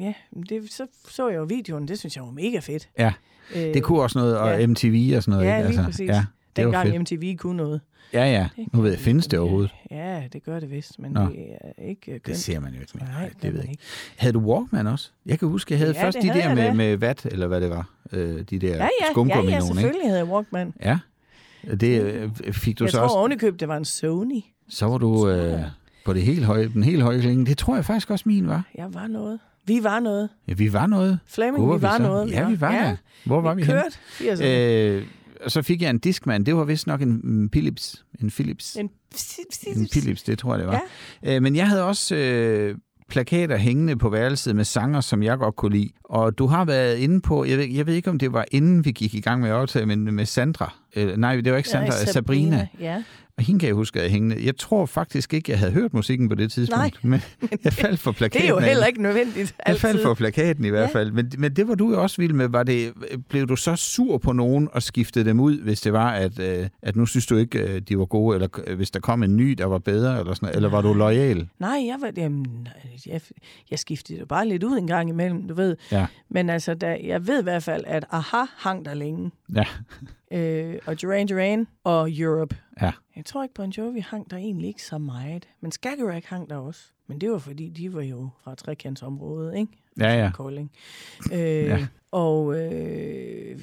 S1: ja, det, så så jeg jo videoen, det synes jeg var mega fedt.
S2: Ja,
S1: Øh,
S2: det kunne også noget, og
S1: ja.
S2: MTV og sådan noget.
S1: Ja,
S2: ikke? Altså,
S1: lige præcis.
S2: Ja, det var
S1: Dengang
S2: fedt.
S1: MTV kunne noget.
S2: Ja, ja. Nu ved jeg, findes det overhovedet?
S1: Ja, det gør det vist, men
S2: Nå.
S1: Nå. det er ikke øh, kønt.
S2: Det ser man jo ikke mere.
S1: Nej,
S2: Nej,
S1: det
S2: det ved
S1: man
S2: jeg ikke.
S1: ikke.
S2: Havde du Walkman også? Jeg kan huske, jeg havde
S1: Ja,
S2: først
S1: det
S2: de
S1: havde
S2: der
S1: jeg
S2: med,
S1: da.
S2: med vat, eller hvad det var. Øh, de der
S1: ja, ja, ja,
S2: skumgummi
S1: ja,
S2: nogen, ikke?
S1: selvfølgelig havde jeg Walkman.
S2: Ja, det øh, fik du
S1: Jeg
S2: så
S1: tror
S2: også.
S1: ovenikøbet, det var en Sony.
S2: Så var du øh, på det helt høje, den helt høje klinge. Det tror jeg faktisk også min var.
S1: Jeg var noget. Vi var noget.
S2: Ja, vi var noget.
S1: Flemming,
S2: Hvor
S1: vi var
S2: så?
S1: noget.
S2: Ja, vi var
S1: Ja.
S2: der. Hvor var vi, henne?
S1: kørte altså. 80'erne.
S2: Øh, og så fik jeg en Discman. Det var vist nok en, en Philips. En Philips.
S1: En,
S2: En Philips, det tror jeg, det var. Ja. Øh, men jeg havde også øh, plakater hængende på værelset med sanger, som jeg godt kunne lide. Og du har været inde på, jeg ved, jeg ved ikke, om det var inden vi gik i gang med optaget, men med Sandra. Øh, nej, det var ikke Sandra, nej, Sabrina. Sabrina.
S1: Ja.
S2: Og hende kan jeg huske, at jeg hængende. Jeg tror faktisk ikke, jeg havde hørt musikken på det tidspunkt. Nej. Men jeg faldt for plakaten.
S1: Det er jo
S2: af
S1: heller
S2: hende.
S1: ikke nødvendigt.
S2: Jeg faldt
S1: altid.
S2: for plakaten i hvert
S1: Ja.
S2: fald. Men, men det var du jo også vild med. Var det, blev du så sur på nogen og skiftede dem ud, hvis det var, at, øh, at nu synes du ikke, øh, de var gode, eller øh, hvis der kom en ny, der var bedre, eller, sådan, noget, eller var du lojal?
S1: Nej, jeg var... Jamen, nej, jeg, jeg skiftede jo bare lidt ud en gang imellem, du ved.
S2: Ja.
S1: Men altså, der, jeg ved i hvert fald, at Aha hang der længe.
S2: Ja.
S1: Øh, og Duran Duran og Europe.
S2: ja.
S1: Jeg tror ikke, Bon Jovi hang der egentlig ikke så meget. Men Skagerrak hang der også. Men det var fordi, de var jo fra trekantsområdet, ikke?
S2: Ja, ja.
S1: Kolding. Øh, ja. Og... Øh,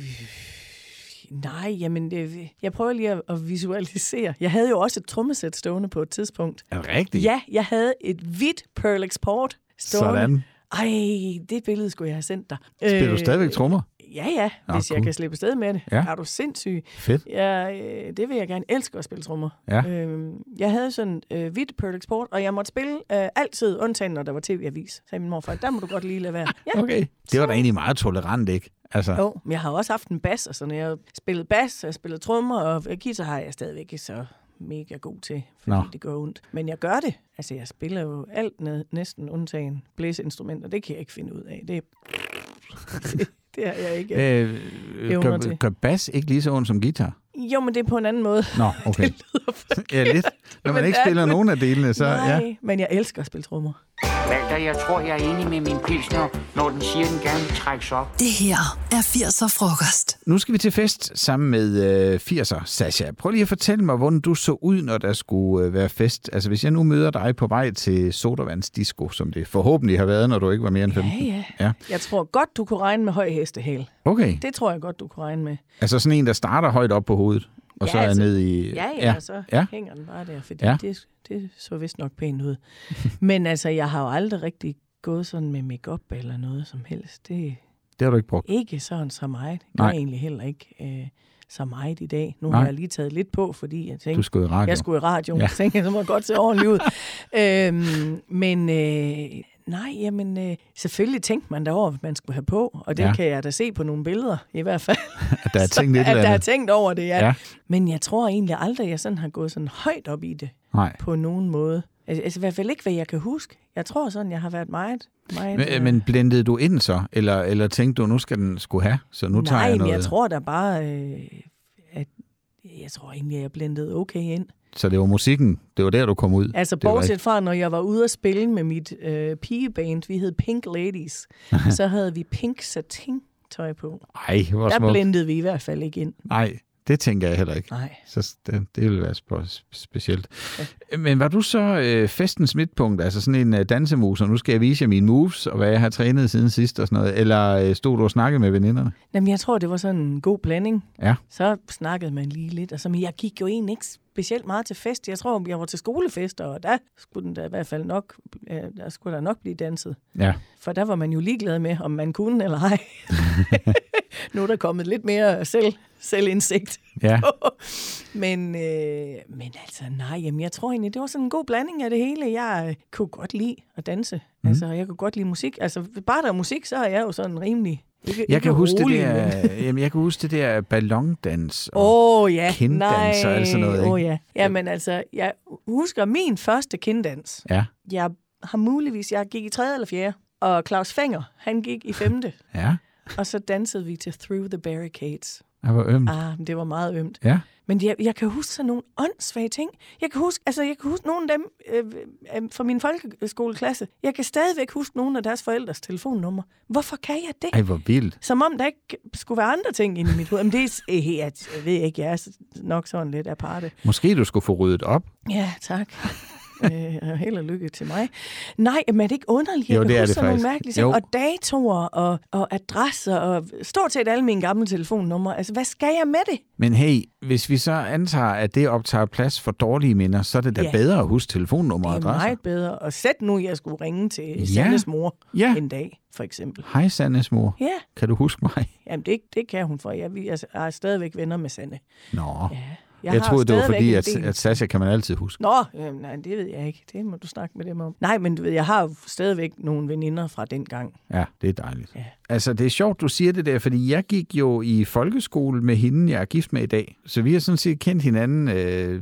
S1: nej, jamen, det, jeg prøver lige at, at visualisere. Jeg havde jo også et trommesæt stående på et tidspunkt.
S2: Er det rigtigt?
S1: Ja, jeg havde et hvidt Pearl Export stående.
S2: Sådan.
S1: Ej, det billede skulle jeg have sendt dig.
S2: Spiller du
S1: Øh,
S2: stadigvæk trommer?
S1: Ja, ja,
S2: Nå,
S1: hvis
S2: cool.
S1: jeg kan slippe sted med det.
S2: Ja.
S1: Er du sindssyg?
S2: Fedt.
S1: Ja, øh, det vil jeg gerne. Elsker at spille trommer.
S2: Ja.
S1: Øhm, jeg havde sådan øh, hvidt Pearl Export, og jeg måtte spille øh, altid, undtagen når der var tv-avis, sagde min morfar. Der må du godt lige lade være. Ja.
S2: Okay. Det var da egentlig meget tolerant, ikke? Altså,
S1: Jo, men jeg har også haft en bas, og sådan, jeg har spillet bas, og jeg har spillet trommer, og guitar har jeg stadigvæk ikke så mega god til, fordi
S2: Nå.
S1: Nå. det går ondt. Men jeg gør det. Altså, jeg spiller jo alt ned, næsten undtagen blæseinstrumenter. Det kan jeg ikke finde ud af. Det, det har jeg ikke.
S2: øh,
S1: evner
S2: gør,
S1: til.
S2: gør bas ikke lige så ondt som guitar?
S1: Jo, men det er på en anden måde.
S2: Nå, okay.
S1: Det lyder for...
S2: Ja, lidt. Når man
S1: Men
S2: ikke
S1: det er
S2: spiller
S1: lidt-
S2: nogen af delene, så...
S1: Nej,
S2: Ja.
S1: men jeg elsker at spille trommer.
S8: Walter, jeg tror, jeg er enig med min pilsner, når den siger, den gerne vil trækkes op.
S3: Det her er 80'er frokost.
S2: Nu skal vi til fest sammen med øh, 80'er, Sasha. Prøv lige at fortælle mig, hvordan du så ud, når der skulle øh, være fest. Altså, hvis jeg nu møder dig på vej til sodavandsdisco, som det forhåbentlig har været, når du ikke var mere end 15.
S1: ja.
S2: ja.
S1: Jeg tror godt, du kunne regne med høj hestehæl.
S2: Okay.
S1: Det tror jeg godt, du kunne regne med.
S2: Altså sådan en, der starter højt op på hovedet, og
S1: Ja,
S2: så er
S1: altså-
S2: ned i...
S1: Ja, ja, ja. og så
S2: ja.
S1: ja. hænger den bare der, fordi
S2: Ja.
S1: ja. det, det så vist nok pænt ud. Men altså, jeg har jo aldrig rigtig gået sådan med makeup eller noget som helst. Det er
S2: Det har du ikke brugt.
S1: ikke sådan så meget. Det gør
S2: Nej.
S1: jeg egentlig heller ikke øh, så meget i dag. Nu
S2: Nej.
S1: har jeg lige taget lidt på, fordi jeg
S2: Du
S1: tænkte,
S2: skulle i radio.
S1: jeg skulle i radioen.
S2: Ja.
S1: Ja. Tænkte, jeg, så må jeg godt se ordentligt ud. øhm, men øh, nej, jamen, øh, selvfølgelig tænkte man da over, hvad man skulle have på. Og det
S2: Ja.
S1: ja. kan jeg da se på nogle billeder, i hvert fald.
S2: At der er tænkt et
S1: at
S2: eller
S1: der er
S2: andet.
S1: tænkt over det, ja.
S2: Ja.
S1: ja. Men jeg tror egentlig aldrig, at jeg sådan har gået sådan højt op i det
S2: Nej.
S1: på nogen måde. Altså, altså i hvert fald ikke, hvad jeg kan huske. Jeg tror sådan, jeg har været meget... meget
S2: Men, øh,
S1: øh,
S2: men blendede du ind så? Eller, eller tænkte du, nu skal den skulle have, så nu tager
S1: nej,
S2: jeg
S1: men
S2: noget?
S1: jeg tror da bare, øh, at jeg tror egentlig, at jeg blendede okay ind.
S2: Så det var musikken, det var der, du kom ud?
S1: Altså
S2: det var
S1: bortset
S2: ikke-
S1: fra, når jeg var ude at spille med mit øh, pigeband, vi hed Pink Ladies, så havde vi pink satin tøj på.
S2: Ej, hvor
S1: Der
S2: smukt.
S1: blendede vi i hvert fald ikke ind.
S2: Nej, Det tænker jeg heller ikke.
S1: Nej.
S2: Så det, det ville være sp- specielt. Men var du så øh, festens midtpunkt, altså sådan en øh, dansemus, og nu skal jeg vise jer mine moves, og hvad jeg har trænet siden sidst og sådan noget, eller øh, stod du og snakkede med veninderne?
S1: Jamen, jeg tror, det var sådan en god blanding.
S2: Ja.
S1: Så snakkede man lige lidt, og så, men jeg gik jo egentlig ikke specielt meget til fest. Jeg tror, jeg var til skolefester, og der skulle den da i hvert fald nok, øh, der skulle der nok blive danset.
S2: Ja.
S1: For der var man jo ligeglad med, om man kunne eller ej. nu er der kommet lidt mere selv, selvindsigt.
S2: Ja.
S1: men, øh, men altså, nej, jamen, jeg tror egentlig, det var sådan en god blanding af det hele. Jeg øh, kunne godt lide at danse.
S2: Mhm.
S1: Mm. Altså, jeg kunne godt lide musik. Altså, bare der er musik, så er jeg jo sådan rimelig... Ikke,
S2: Jeg
S1: ikke
S2: kan, huske det
S1: rolig, men-
S2: der, øh, jamen, jeg kan huske det der ballondans. og-
S1: Åh oh, ja, nej.
S2: kinddans og alt sådan noget, ikke?
S1: Åh oh, ja. Jamen altså, jeg husker min første kinddans.
S2: Ja,
S1: Jeg har muligvis, jeg gik i tredje eller fjerde, og Claus Fenger, han gik i femte.
S2: ja.
S1: og så dansede vi til Through the Barricades.
S2: Jeg var øm.
S1: Ah, men det var meget ømt.
S2: Ja.
S1: Men jeg, jeg kan huske sådan nogle åndssvage ting. Jeg kan huske, altså jeg kan huske nogle af dem øh, øh, fra min folkeskoleklasse. Jeg kan stadigvæk huske nogle af deres forældres telefonnummer. Hvorfor kan jeg det?
S2: Ej, hvor vildt.
S1: Som om der ikke skulle være andre ting inde i mit hoved. Jamen, det er, øh, jeg, jeg ved ikke, jeg er s- nok sådan lidt aparte.
S2: Måske du skulle få ryddet op.
S1: Ja, tak. øh, og held og lykke til mig. Nej, men er det ikke underligt? Jeg
S2: Jo,
S1: kan
S2: det er
S1: huske
S2: det
S1: sådan nogle
S2: faktisk.
S1: mærkelige
S2: Jo.
S1: ting. Og datoer og, og adresser og stort set alle mine gamle telefonnumre. Altså, hvad skal jeg med det?
S2: Men hey, hvis vi så antager, at det optager plads for dårlige minder, så er det da
S1: Ja.
S2: bedre at huske telefonnummer og
S1: Det er
S2: adresser.
S1: meget bedre. Og sæt nu, jeg skulle ringe til ja. Sandes mor
S2: Ja.
S1: en dag, for eksempel.
S2: Hej, Sandes mor.
S1: Ja,
S2: Kan du huske mig?
S1: jamen det, det kan hun for. Jeg, vi er, er stadigvæk venner med Sande.
S2: Nå. Ja. Jeg,
S1: Jeg
S2: jeg
S1: har
S2: troede, det var
S1: stadigvæk
S2: fordi,
S1: en
S2: at,
S1: del.
S2: at Sasha kan man altid huske.
S1: Nå, jamen, nej, det ved jeg ikke. Det må du snakke med dem om. Nej, men du ved, jeg har jo stadigvæk nogle veninder fra dengang.
S2: Ja, det er dejligt. Ja.
S1: Ja.
S2: Altså, det er sjovt, du siger det der, fordi jeg gik jo i folkeskole med hende, jeg er gift med i dag. Så vi har sådan set kendt hinanden øh,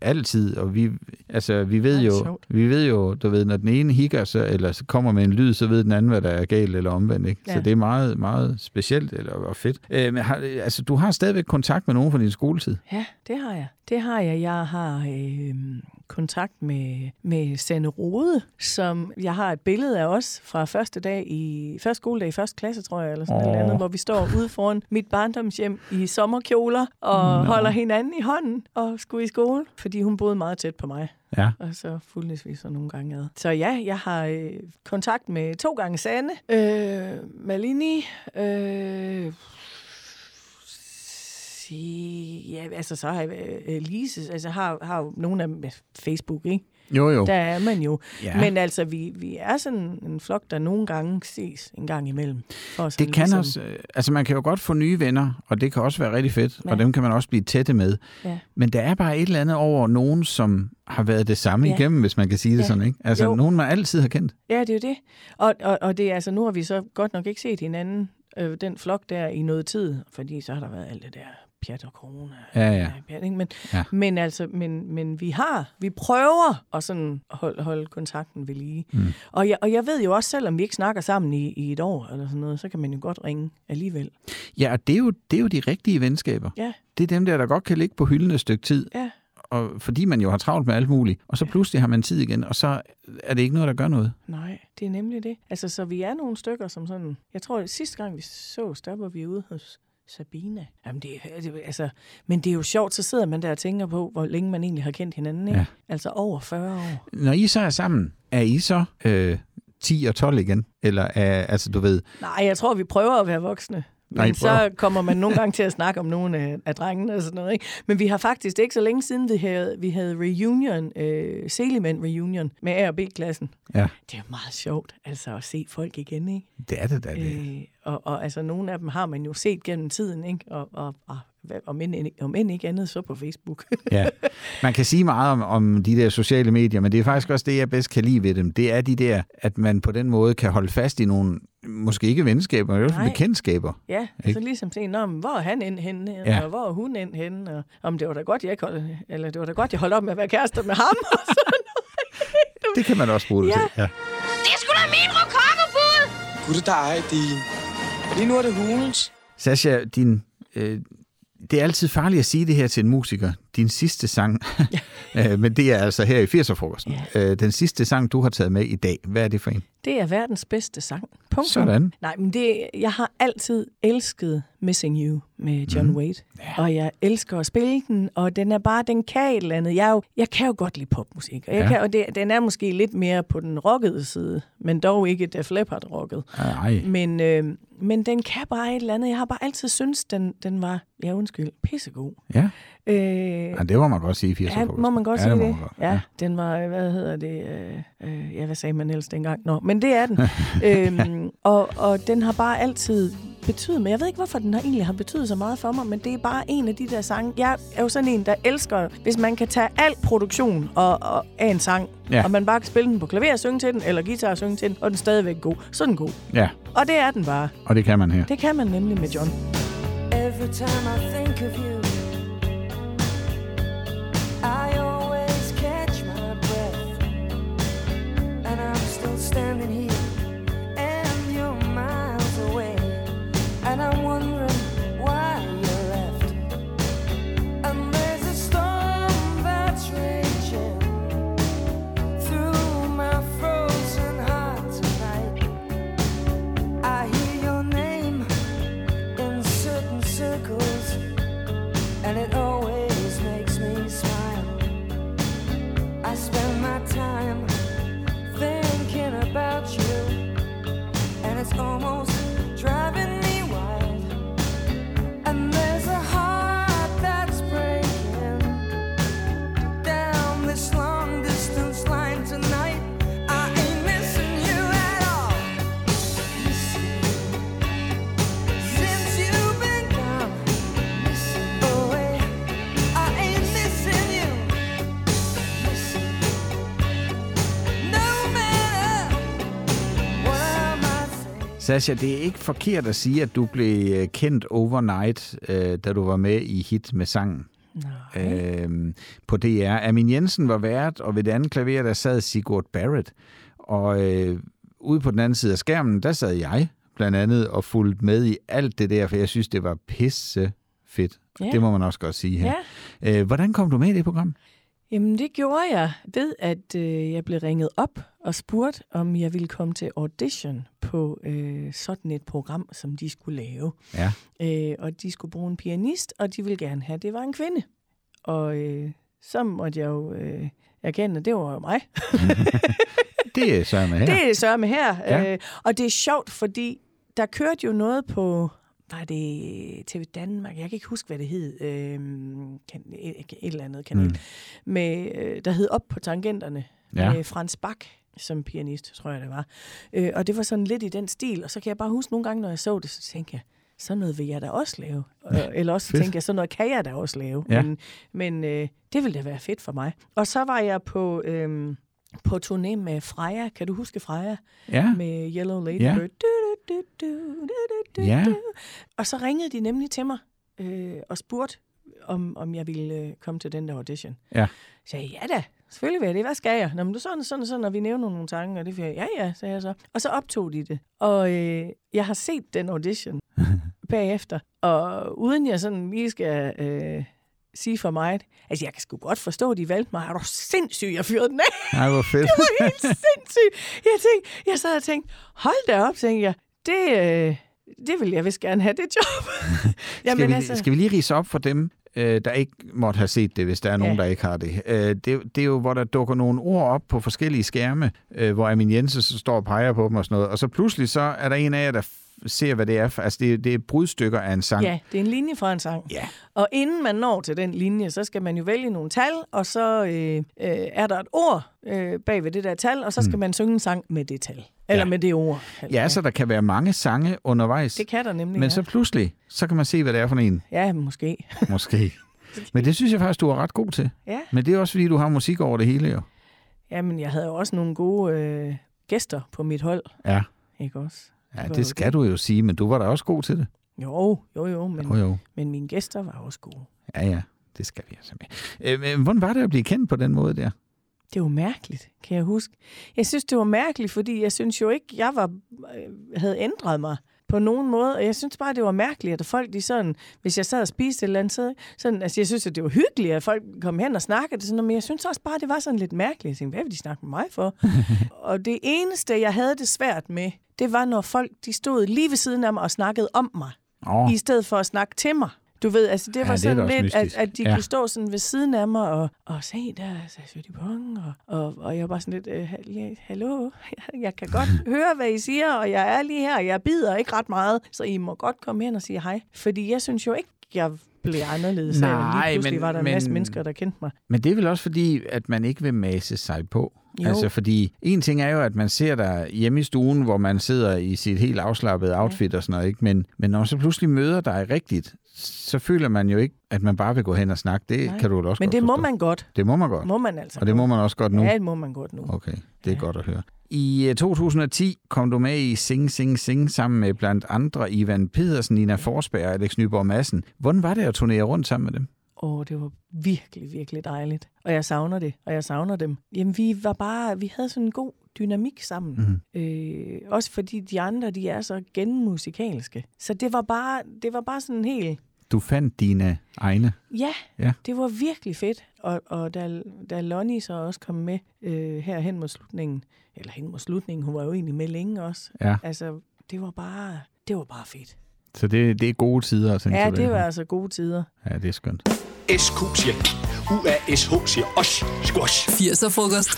S2: altid, og vi, altså, vi ved
S1: Ej,
S2: jo,
S1: sjovt.
S2: vi ved jo, du ved, når den ene hikker, så, eller så kommer med en lyd, så ved den anden, hvad der er galt eller omvendt. Ikke? Ja. Så
S1: Ja.
S2: det er meget, meget specielt eller, og fedt. Øh, men har, altså, du har stadigvæk kontakt med nogen fra din skoletid.
S1: Ja, det har jeg. Det har jeg. Jeg har øh, kontakt med, med Sanne Rode, som jeg har et billede af os fra første dag i første skoledag i første klasse, tror jeg, eller sådan
S2: Åh.
S1: noget andet, hvor vi står ude foran mit barndomshjem i sommerkjoler og no. holder hinanden i hånden og skulle i skole, fordi hun boede meget tæt på mig.
S2: Ja.
S1: Og så fulgtes vi så nogle gange ad. Så ja, jeg har øh, kontakt med to gange Sanne, øh, Malini, øh, sige, ja, altså så har jeg øh, øh, Lise, altså har, har jo nogle af dem øh, Facebook, ikke?
S2: Jo, jo.
S1: Der er man jo.
S2: Ja.
S1: Men altså, vi, vi er sådan en flok, der nogle gange ses en gang imellem. For sådan
S2: Det kan
S1: ligesom,
S2: også, øh, altså man kan jo godt få nye venner, og det kan også være rigtig fedt, ja.
S1: Ja.
S2: og dem kan man også blive tætte med.
S1: Ja.
S2: Men der er bare et eller andet over nogen, som har været det samme ja.
S1: Ja.
S2: igennem, hvis man kan sige det ja.
S1: Ja.
S2: sådan, ikke? Altså jo.
S1: Jo.
S2: nogen, man altid har kendt.
S1: Ja, det er jo det. Og, og, og det er altså, nu har vi så godt nok ikke set hinanden, øh, den flok der, i noget tid, fordi så har der været alt det der pjat og corona.
S2: Ja, ja.
S1: pjat, ikke? Men,
S2: Ja.
S1: ja. men altså, men, men vi har, vi prøver at sådan holde, holde kontakten ved lige. Mm. Og, jeg, og jeg ved jo også, selvom vi ikke snakker sammen i, i et år eller sådan noget, så kan man jo godt ringe alligevel.
S2: Ja, og det er jo, det er jo de rigtige venskaber.
S1: Ja,
S2: Det er dem der, der godt kan ligge på hylden et stykke tid,
S1: ja.
S2: og fordi man jo har travlt med alt muligt, og så pludselig har man tid igen, og så er det ikke noget, der gør noget.
S1: Nej, det er nemlig det. Altså, så vi er nogle stykker, som sådan... Jeg tror, at sidste gang vi sås, der var vi ude hos Sabina. Jamen, det, er- det, er- altså, men det er jo sjovt, så sidder man der og tænker på, hvor længe man egentlig har kendt hinanden, ikke?
S2: Ja.
S1: Ja. Altså over 40 år.
S2: Når I så er sammen, er I så øh, 10 og 12 igen? Eller er, altså du ved,
S1: Nej, jeg tror, vi prøver at være voksne. Men
S2: Nej, I
S1: Nej,
S2: prøver.
S1: så kommer man nogle gange til at snakke om nogle af, af drengene og sådan noget. Ikke? Men vi har faktisk det er ikke så længe siden, vi havde, vi havde reunion, øh, Seligman reunion med A og B-klassen.
S2: ja,
S1: Det er jo meget sjovt, altså at se folk igen, ikke?
S2: det er det da. Det.
S1: Øh, og, og altså, nogle af dem har man jo set gennem tiden, ikke? Og, og, og hvad- om, end, om end ikke andet, så på Facebook.
S2: Ja, man kan sige meget om, om de der sociale medier, men det er faktisk også det, jeg bedst kan lide ved dem. Det er de der, at man på den måde kan holde fast i nogle, måske ikke venskaber, men i hvert fald
S1: Nej.
S2: bekendtskaber.
S1: ja, så
S2: Ikke?
S1: ligesom se, Nå, men hvor er han end henne,
S2: Ja.
S1: ja. og hvor er hun end henne, og om det var da godt, jeg ikke holdt, eller det var da godt, jeg holdt op med at være kærester med ham, og sådan noget.
S2: Det kan man også bruge det
S1: Ja.
S2: til. Ja.
S5: Det er sgu da min rokokkebud!
S6: Gud, der er din. Lige nu er det hulens.
S2: Sasha, din, øh, det er altid farligt at sige det her til en musiker. Din sidste sang, øh, men det er altså her i 80'er-frokosten. Ja. Øh, den sidste sang, du har taget med i dag, hvad er det for en?
S1: Det er verdens bedste sang. Punktum.
S2: Sådan.
S1: Nej, men det, jeg har altid elsket Missing You med John mm. Wade. Og jeg elsker at spille den, og den er bare, den kan et eller andet. Jeg, er jo, jeg kan jo godt lide popmusik, og, jeg
S2: Ja.
S1: ja. kan, og det, den er måske lidt mere på den rockede side, men dog ikke Def Leppard-rocket.
S2: Nej.
S1: Men, øh, men den kan bare et eller andet. Jeg har bare altid syntes, den, den var, ja undskyld, pissegod.
S2: Ja.
S1: Øh,
S2: ja, det må man godt sige i 80'er
S1: Ja,
S2: frokost.
S1: må man godt
S2: ja,
S1: sige
S2: må
S1: det.
S2: man godt.
S1: Ja, den var, hvad hedder det, øh, øh, ja, hvad sagde man ellers dengang? Nå, men det er den. øhm, og, og den har bare altid betydet, men jeg ved ikke, hvorfor den har egentlig har betydet så meget for mig, men det er bare en af de der sange. Jeg er jo sådan en, der elsker, hvis man kan tage al produktion og, og, af en sang,
S2: Ja.
S1: ja. og man bare kan spille den på klaver og synge til den, eller guitar og synge til den, og den er stadigvæk god. Så er den god.
S2: ja,
S1: Og det er den bare.
S2: og det kan man her.
S1: Det kan man nemlig med John.
S6: Every time I think of you, I always catch my breath. And I'm still standing here, and you're miles away. And I'm wondering why you left. And there's a storm that's raging through my frozen heart tonight. I hear your name in certain circles, and it always makes me smile. I spend my time thinking about you, and it's almost driving me wild. And there's a heart that's breaking down this long distance line tonight. I ain't missing you at all. Since you've been gone away, I ain't missing you. No matter what I might say.
S2: Sasha, det er ikke forkert at sige, at du blev øh, kendt overnight, øh, da du var med i hit med sangen. Øh, på DR. Amin Jensen var vært, og ved det andet klaver, der sad Sigurd Barrett. Og øh, ude på den anden side af skærmen, der sad jeg blandt andet og fulgte med i alt det der, for jeg synes, det var pisse fedt.
S1: Ja.
S2: Det må man også godt sige her. Øh, hvordan kom du med i det program?
S1: Jamen, det gjorde jeg ved, at øh, jeg blev ringet op og spurgt, om jeg ville komme til audition på øh, sådan et program, som de skulle lave.
S2: Ja.
S1: Øh, og de skulle bruge en pianist, og de ville gerne have, at det var en kvinde. Og øh, så måtte jeg jo øh, erkende, at det var jo mig.
S2: Det er sørme her.
S1: Det er sørme her.
S2: Ja.
S1: Ja. Øh, og det er sjovt, fordi der kørte jo noget på... Var det TV Danmark? Jeg kan ikke huske, hvad det hed. Øhm, kan, et, et eller andet kanal. Mm. Med, øh, der hed Op på tangenterne. Øh,
S2: Ja.
S1: Ja. Med Frans Bak som pianist, tror jeg, det var. Øh, og det var sådan lidt i den stil. Og så kan jeg bare huske nogle gange, når jeg så det, så tænkte jeg, sådan noget vil jeg da også lave. Øh, Eller også
S2: Fedt.
S1: tænkte jeg, sådan noget kan jeg da også lave.
S2: Ja.
S1: Men, men øh, det ville da være fedt for mig. Og så var jeg på... Øh, på turné med Freja. Kan du huske Freja?
S2: Ja.
S1: Med Yellow Lady
S2: Ja.
S1: Bird. Du, du, du, du, du, du, du,
S2: Ja.
S1: du. Og så ringede de nemlig til mig øh, og spurgte, om, om jeg ville øh, komme til den der audition.
S2: Ja.
S1: Så sagde jeg, ja da, selvfølgelig vil jeg det. Hvad skal jeg? Nå, men du sådan og sådan og sådan, og vi nævner nogle tanker. Og det siger jeg, ja ja, sagde jeg så. Og så optog de det. Og øh, jeg har set den audition bagefter. Og uden jeg sådan lige skal... Øh, sige for mig. Altså, jeg kan sgu godt forstå, at de valgte mig. Er du sindssyg, jeg fyrede den af?
S2: Ej, hvor fedt.
S1: det var helt sindssygt. Jeg, tænkte, jeg sad og tænkte, hold da op, tænkte jeg. Det, øh, det vil jeg vist gerne have, det job.
S2: skal, vi, altså... skal vi lige rise op for dem, øh, der ikke måtte have set det, hvis der er nogen, ja.
S1: Ja.
S2: der ikke har det. Øh, det. Det er jo, hvor der dukker nogle ord op på forskellige skærme, øh, hvor Amin Jensen så står og peger på dem og sådan noget, og så pludselig så er der en af jer, der f- ser, hvad det er. For, altså, det, det er brudstykker af en sang.
S1: Ja, det er en linje fra en sang.
S2: Ja.
S1: Og inden man når til den linje, så skal man jo vælge nogle tal, og så øh, øh, er der et ord øh, bag ved det der tal, og så skal mm. man synge en sang med det tal. Eller
S2: Hmm. Ja.
S1: med det ord.
S2: ja, så der kan være mange sange undervejs.
S1: Det kan der nemlig
S2: Men
S1: være.
S2: så pludselig, så kan man se, hvad det er for en,
S1: Ja, måske.
S2: måske. Men det synes jeg faktisk, du er ret god til.
S1: Ja.
S2: Men det er også, fordi du har musik over det hele, jo.
S1: Jamen, jeg havde jo også nogle gode øh, gæster på mit hold,
S2: Ja.
S1: ikke også?
S2: Ja,
S1: var
S2: det
S1: jo
S2: skal du jo sige, men du var da også god til det.
S1: Jo, jo, jo, men,
S2: Jo, jo.
S1: men mine gæster var også gode.
S2: Ja, ja. Det skal vi altså med. Øh, men hvordan var det at blive kendt på den måde der?
S1: Det var mærkeligt, kan jeg huske. Jeg synes, det var mærkeligt, fordi jeg synes jo ikke, jeg var, øh, havde ændret mig på nogen måde. Og jeg synes bare, det var mærkeligt, at folk de sådan, hvis jeg sad og spiste et eller andet, så, sådan, altså jeg synes, at det var hyggeligt, at folk kom hen og snakkede, sådan, noget, men jeg synes også bare, det var sådan lidt mærkeligt. Jeg tænkte, hvad vil de snakke med mig for? og det eneste, jeg havde det svært med, det var, når folk de stod lige ved siden af mig og snakkede om mig.
S2: Åh.
S1: i stedet for at snakke til mig. Du ved, altså det var
S2: det er da
S1: sådan
S2: også
S1: lidt, at,
S2: mystisk.
S1: at de
S2: Ja.
S1: ja. kunne stå sådan ved siden af mig og, og se, der er Sasha Dupont, og, og, og jeg var sådan lidt, øh, hal- hallo, jeg kan godt høre, hvad I siger, og jeg er lige her, og jeg bider ikke ret meget, så I må godt komme hen og sige hej. Fordi jeg synes jo ikke, jeg blev anderledes. af, at
S2: Nej,
S1: lige pludselig
S2: men-
S1: var der en masse
S2: men-
S1: mennesker, der kendte mig.
S2: Men det er vel også fordi, at man ikke vil mase sig på. Jo.
S1: Jo.
S2: Altså fordi, en ting er jo, at man ser dig hjemme i stuen, hvor man sidder i sit helt afslappede outfit og sådan noget, ikke? Men, men når man så pludselig møder dig rigtigt, så føler man jo ikke, at man bare vil gå hen og snakke. Det Nej.
S1: Nej.
S2: kan du vel også
S1: Men
S2: godt
S1: det må
S2: forstå.
S1: man godt.
S2: Det må man godt.
S1: Må man altså
S2: og det må man også godt nu.
S1: Ja, det må man godt nu.
S2: Okay, det er godt at høre. I øh, 2010 kom du med i Sing Sing Sing sammen med blandt andre Ivan Pedersen, Nina Forsberg og Alex Nyborg Madsen. Hvordan var det at turnere rundt sammen med dem?
S1: Åh, det var virkelig, virkelig dejligt. Og jeg savner det, og jeg savner dem. Jamen, vi var bare, vi havde sådan en god dynamik sammen. Mm. Øh, også fordi de andre, de er så genmusikalske. Så det var bare, det var bare sådan helt,
S2: Du fandt dine egne.
S1: ja,
S2: Ja.
S1: det var virkelig fedt. Og, og da, da Lonnie så også kom med øh, her hen mod slutningen, eller hen mod slutningen, hun var jo egentlig med længe også.
S2: Ja.
S1: Altså, det var bare, det var bare fedt.
S2: Så det, det er gode tider at tænke
S1: Ja,
S2: tilbage
S1: det
S2: på.
S1: var altså gode tider.
S2: Ja, det er skønt.
S10: SQ siger K, UASH siger OSH, squash.
S3: 80'er-frokost.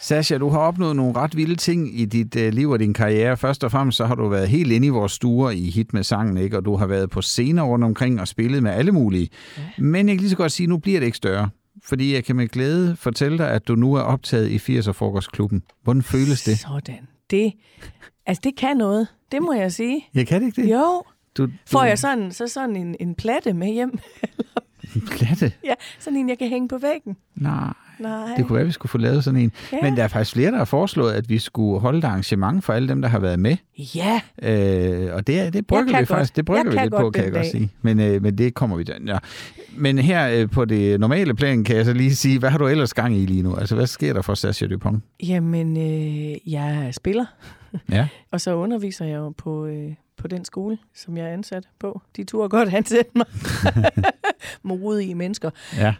S2: Sasha, du har opnået nogle ret vilde ting i dit øh, liv og din karriere. Først og fremmest så har du været helt inde i vores stuer i hit med sangen, ikke? og du har været på scener rundt omkring og spillet med alle mulige. Ja. Men jeg kan lige så godt sige, at nu bliver det ikke større. Fordi jeg kan med glæde fortælle dig, at du nu er optaget i 80'er frokostklubben. Hvordan føles det?
S1: Sådan. Det, altså, det kan noget. Det må jeg sige.
S2: Jeg kan ikke det.
S1: Jo,
S2: Du,
S1: Får
S2: du-
S1: jeg sådan, så sådan en, en platte med hjem?
S2: Glatte?
S1: ja, sådan en, jeg kan hænge på væggen.
S2: Nej.
S1: Nej.
S2: Det kunne være, at vi skulle få lavet sådan en. Ja.
S1: Ja.
S2: Men der er faktisk flere, der har foreslået, at vi skulle holde et arrangement for alle dem, der har været med.
S1: Ja,
S2: Øh, og det, det brygger
S1: kan
S2: vi
S1: godt.
S2: faktisk det brygger
S1: Jeg
S2: vi
S1: kan
S2: lidt
S1: godt
S2: på,
S1: den
S2: kan jeg godt
S1: dag.
S2: sige. Men, øh, men det kommer vi da. Ja. Men her øh, på det normale plan kan jeg så lige sige, hvad har du ellers gang i lige nu? Altså, hvad sker der for Sascha Dupont?
S1: jamen, øh, jeg er spiller,
S2: Ja.
S1: og så underviser jeg jo på, øh, på den skole, som jeg er ansat på. De turde godt ansætte mig. Modige mennesker.
S2: ja.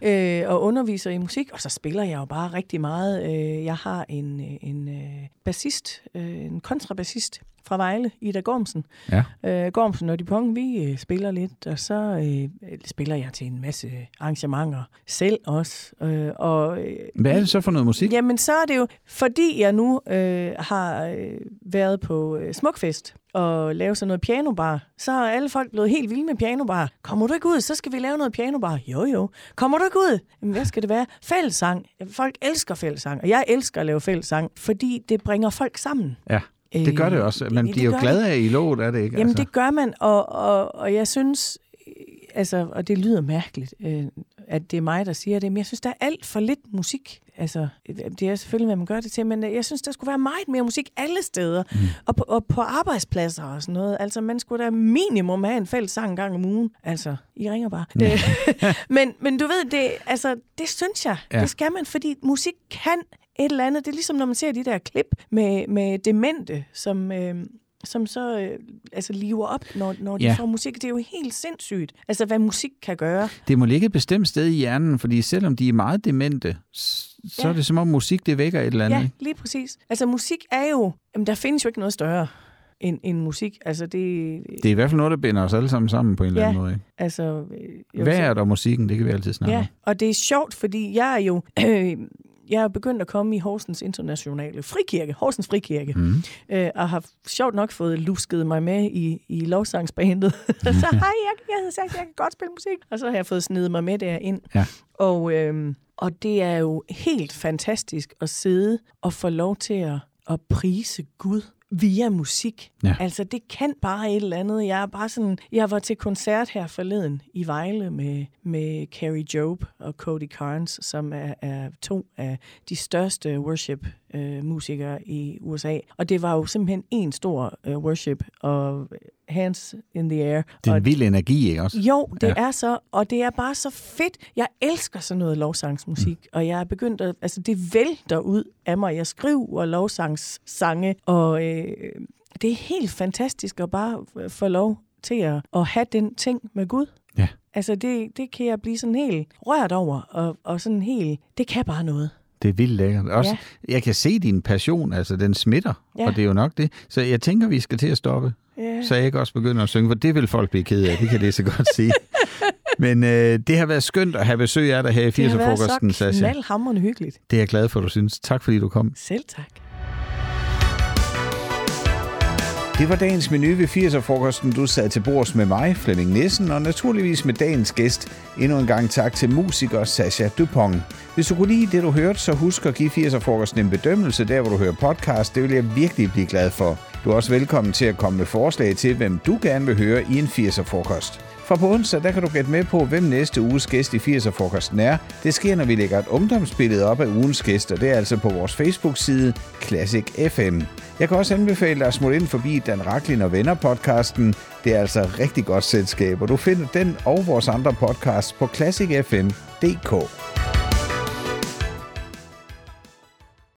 S1: Øh, og underviser i musik, og så spiller jeg jo bare rigtig meget. Øh, jeg har en, øh, en øh, bassist, øh, en kontrabassist fra Vejle, Ida Gormsen,
S2: ja.
S1: Øh, Gormsen og Dupont, vi øh, spiller lidt, og så øh, øh, spiller jeg til en masse arrangementer selv også. Øh, og, øh,
S2: Hvad er det så for noget musik?
S1: jamen, så er det jo, fordi jeg nu øh, har øh, været på øh, Smukfest og lavet sådan noget pianobar, så er alle folk blevet helt vilde med pianobar. Kommer du ikke ud, så skal vi lave noget pianobar. Jo, jo. Kommer du ikke ud? Jamen, hvad skal det være? Fællesang. Folk elsker fællesang, og jeg elsker at lave fællesang, fordi det bringer folk sammen.
S2: Ja. Det gør det også.
S1: Øh,
S2: Man
S1: det-
S2: bliver jo
S1: det gør
S2: glad af i låget, er det ikke? Altså,
S1: Jamen, det gør man, og, og, og jeg synes, øh, altså, og det lyder mærkeligt, øh, at det er mig, der siger det, men jeg synes, der er alt for lidt musik. Altså, øh, det er selvfølgelig, hvad man gør det til, men øh, jeg synes, der skulle være meget mere musik alle steder, mm. og, på, og på arbejdspladser og sådan noget. Altså, man skulle da minimum have en fælles sang en gang om ugen. Altså, I ringer bare.
S2: Mm.
S1: Øh, men, men du ved, det, altså, det synes jeg,
S2: Ja.
S1: ja. det skal man, fordi musik kan et eller andet. Det er ligesom, når man ser de der klip med, med demente, som... Øh, som så øh, altså lever op, når, når de
S2: Ja.
S1: ja. får musik. Det er jo helt sindssygt, altså hvad musik kan gøre.
S2: det må ligge et bestemt sted i hjernen, fordi selvom de er meget demente, s- så ja.
S1: Ja.
S2: er det som om musik, det vækker et eller andet.
S1: Ja,
S2: ikke?
S1: lige præcis. Altså musik er jo, jamen, der findes jo ikke noget større end, end musik. Altså det,
S2: Det er i hvert fald noget, der binder os alle sammen sammen på en eller
S1: Ja.
S2: anden måde. Ikke?
S1: altså... øh, jo,
S2: Hvad
S1: så-
S2: er der musikken? Det kan vi altid snakke om.
S1: Ja, og det er sjovt, fordi jeg er jo... Øh, jeg er begyndt at komme i Horsens Internationale Frikirke, Horsens Frikirke, mm. øh, og har sjovt nok fået lusket mig med i, i lovsangsbandet. så hej, jeg, jeg havde sagt, at jeg kan godt spille musik, og så har jeg fået snedet mig med derind.
S2: Ja.
S1: Og, øhm, og det er jo helt fantastisk at sidde og få lov til at, at prise Gud via musik.
S2: Ja.
S1: Altså, det kan bare et eller andet. Jeg er bare sådan, jeg var til koncert her forleden i Vejle med, med Carrie Job og Cody Carnes, som er, er to af de største worship-musikere i USA. Og det var jo simpelthen en stor øh, worship og hands in the air.
S2: Det er
S1: og
S2: en vild energi, ikke også?
S1: jo, det ja. er så, og det er bare så fedt. Jeg elsker sådan noget lovsangsmusik, mm. og jeg er begyndt at, altså det vælter ud af mig. Jeg skriver lovsangssange, og øh, det er helt fantastisk at bare f- få lov til at, at have den ting med Gud.
S2: Ja.
S1: Altså det, det kan jeg blive sådan helt rørt over, og, og sådan helt, det kan bare noget.
S2: Det er vildt lækkert. Også,
S1: Ja.
S2: ja. Jeg kan se din passion, altså den smitter,
S1: Ja.
S2: ja. og det er jo nok det. Så jeg tænker, vi skal til at stoppe,
S1: Ja.
S2: så jeg ikke også begynder at synge, for det vil folk blive ked af, det kan det så godt sige. Men øh, det har været skønt at have besøg af dig her i
S1: Det har været
S2: 80'er-frokosten,
S1: så
S2: Sasha.
S1: knaldhamrende hyggeligt.
S2: Det er jeg glad for, du synes. Tak fordi du kom.
S1: Selv tak.
S2: Det var dagens menu ved 80'er-frokosten. Du sad til bords med mig, Flemming Nissen, og naturligvis med dagens gæst. Endnu en gang tak til musiker Sasha Dupont. Hvis du kunne lide det, du hørte, så husk at give 80'er-frokosten en bedømmelse der, hvor du hører podcast. Det vil jeg virkelig blive glad for. Du er også velkommen til at komme med forslag til, hvem du gerne vil høre i en 80'er-frokost. Fra på onsdag, der kan du gætte med på, hvem næste uges gæst i 80'er-frokosten er. Det sker, når vi lægger et ungdomsbillede op af ugens gæst, og det er altså på vores Facebook-side Classic FM. Jeg kan også anbefale dig at smutte ind forbi Dan Raklin og Venner-podcasten. Det er altså rigtig godt selskab, og du finder den og vores andre podcasts på classicfm.dk.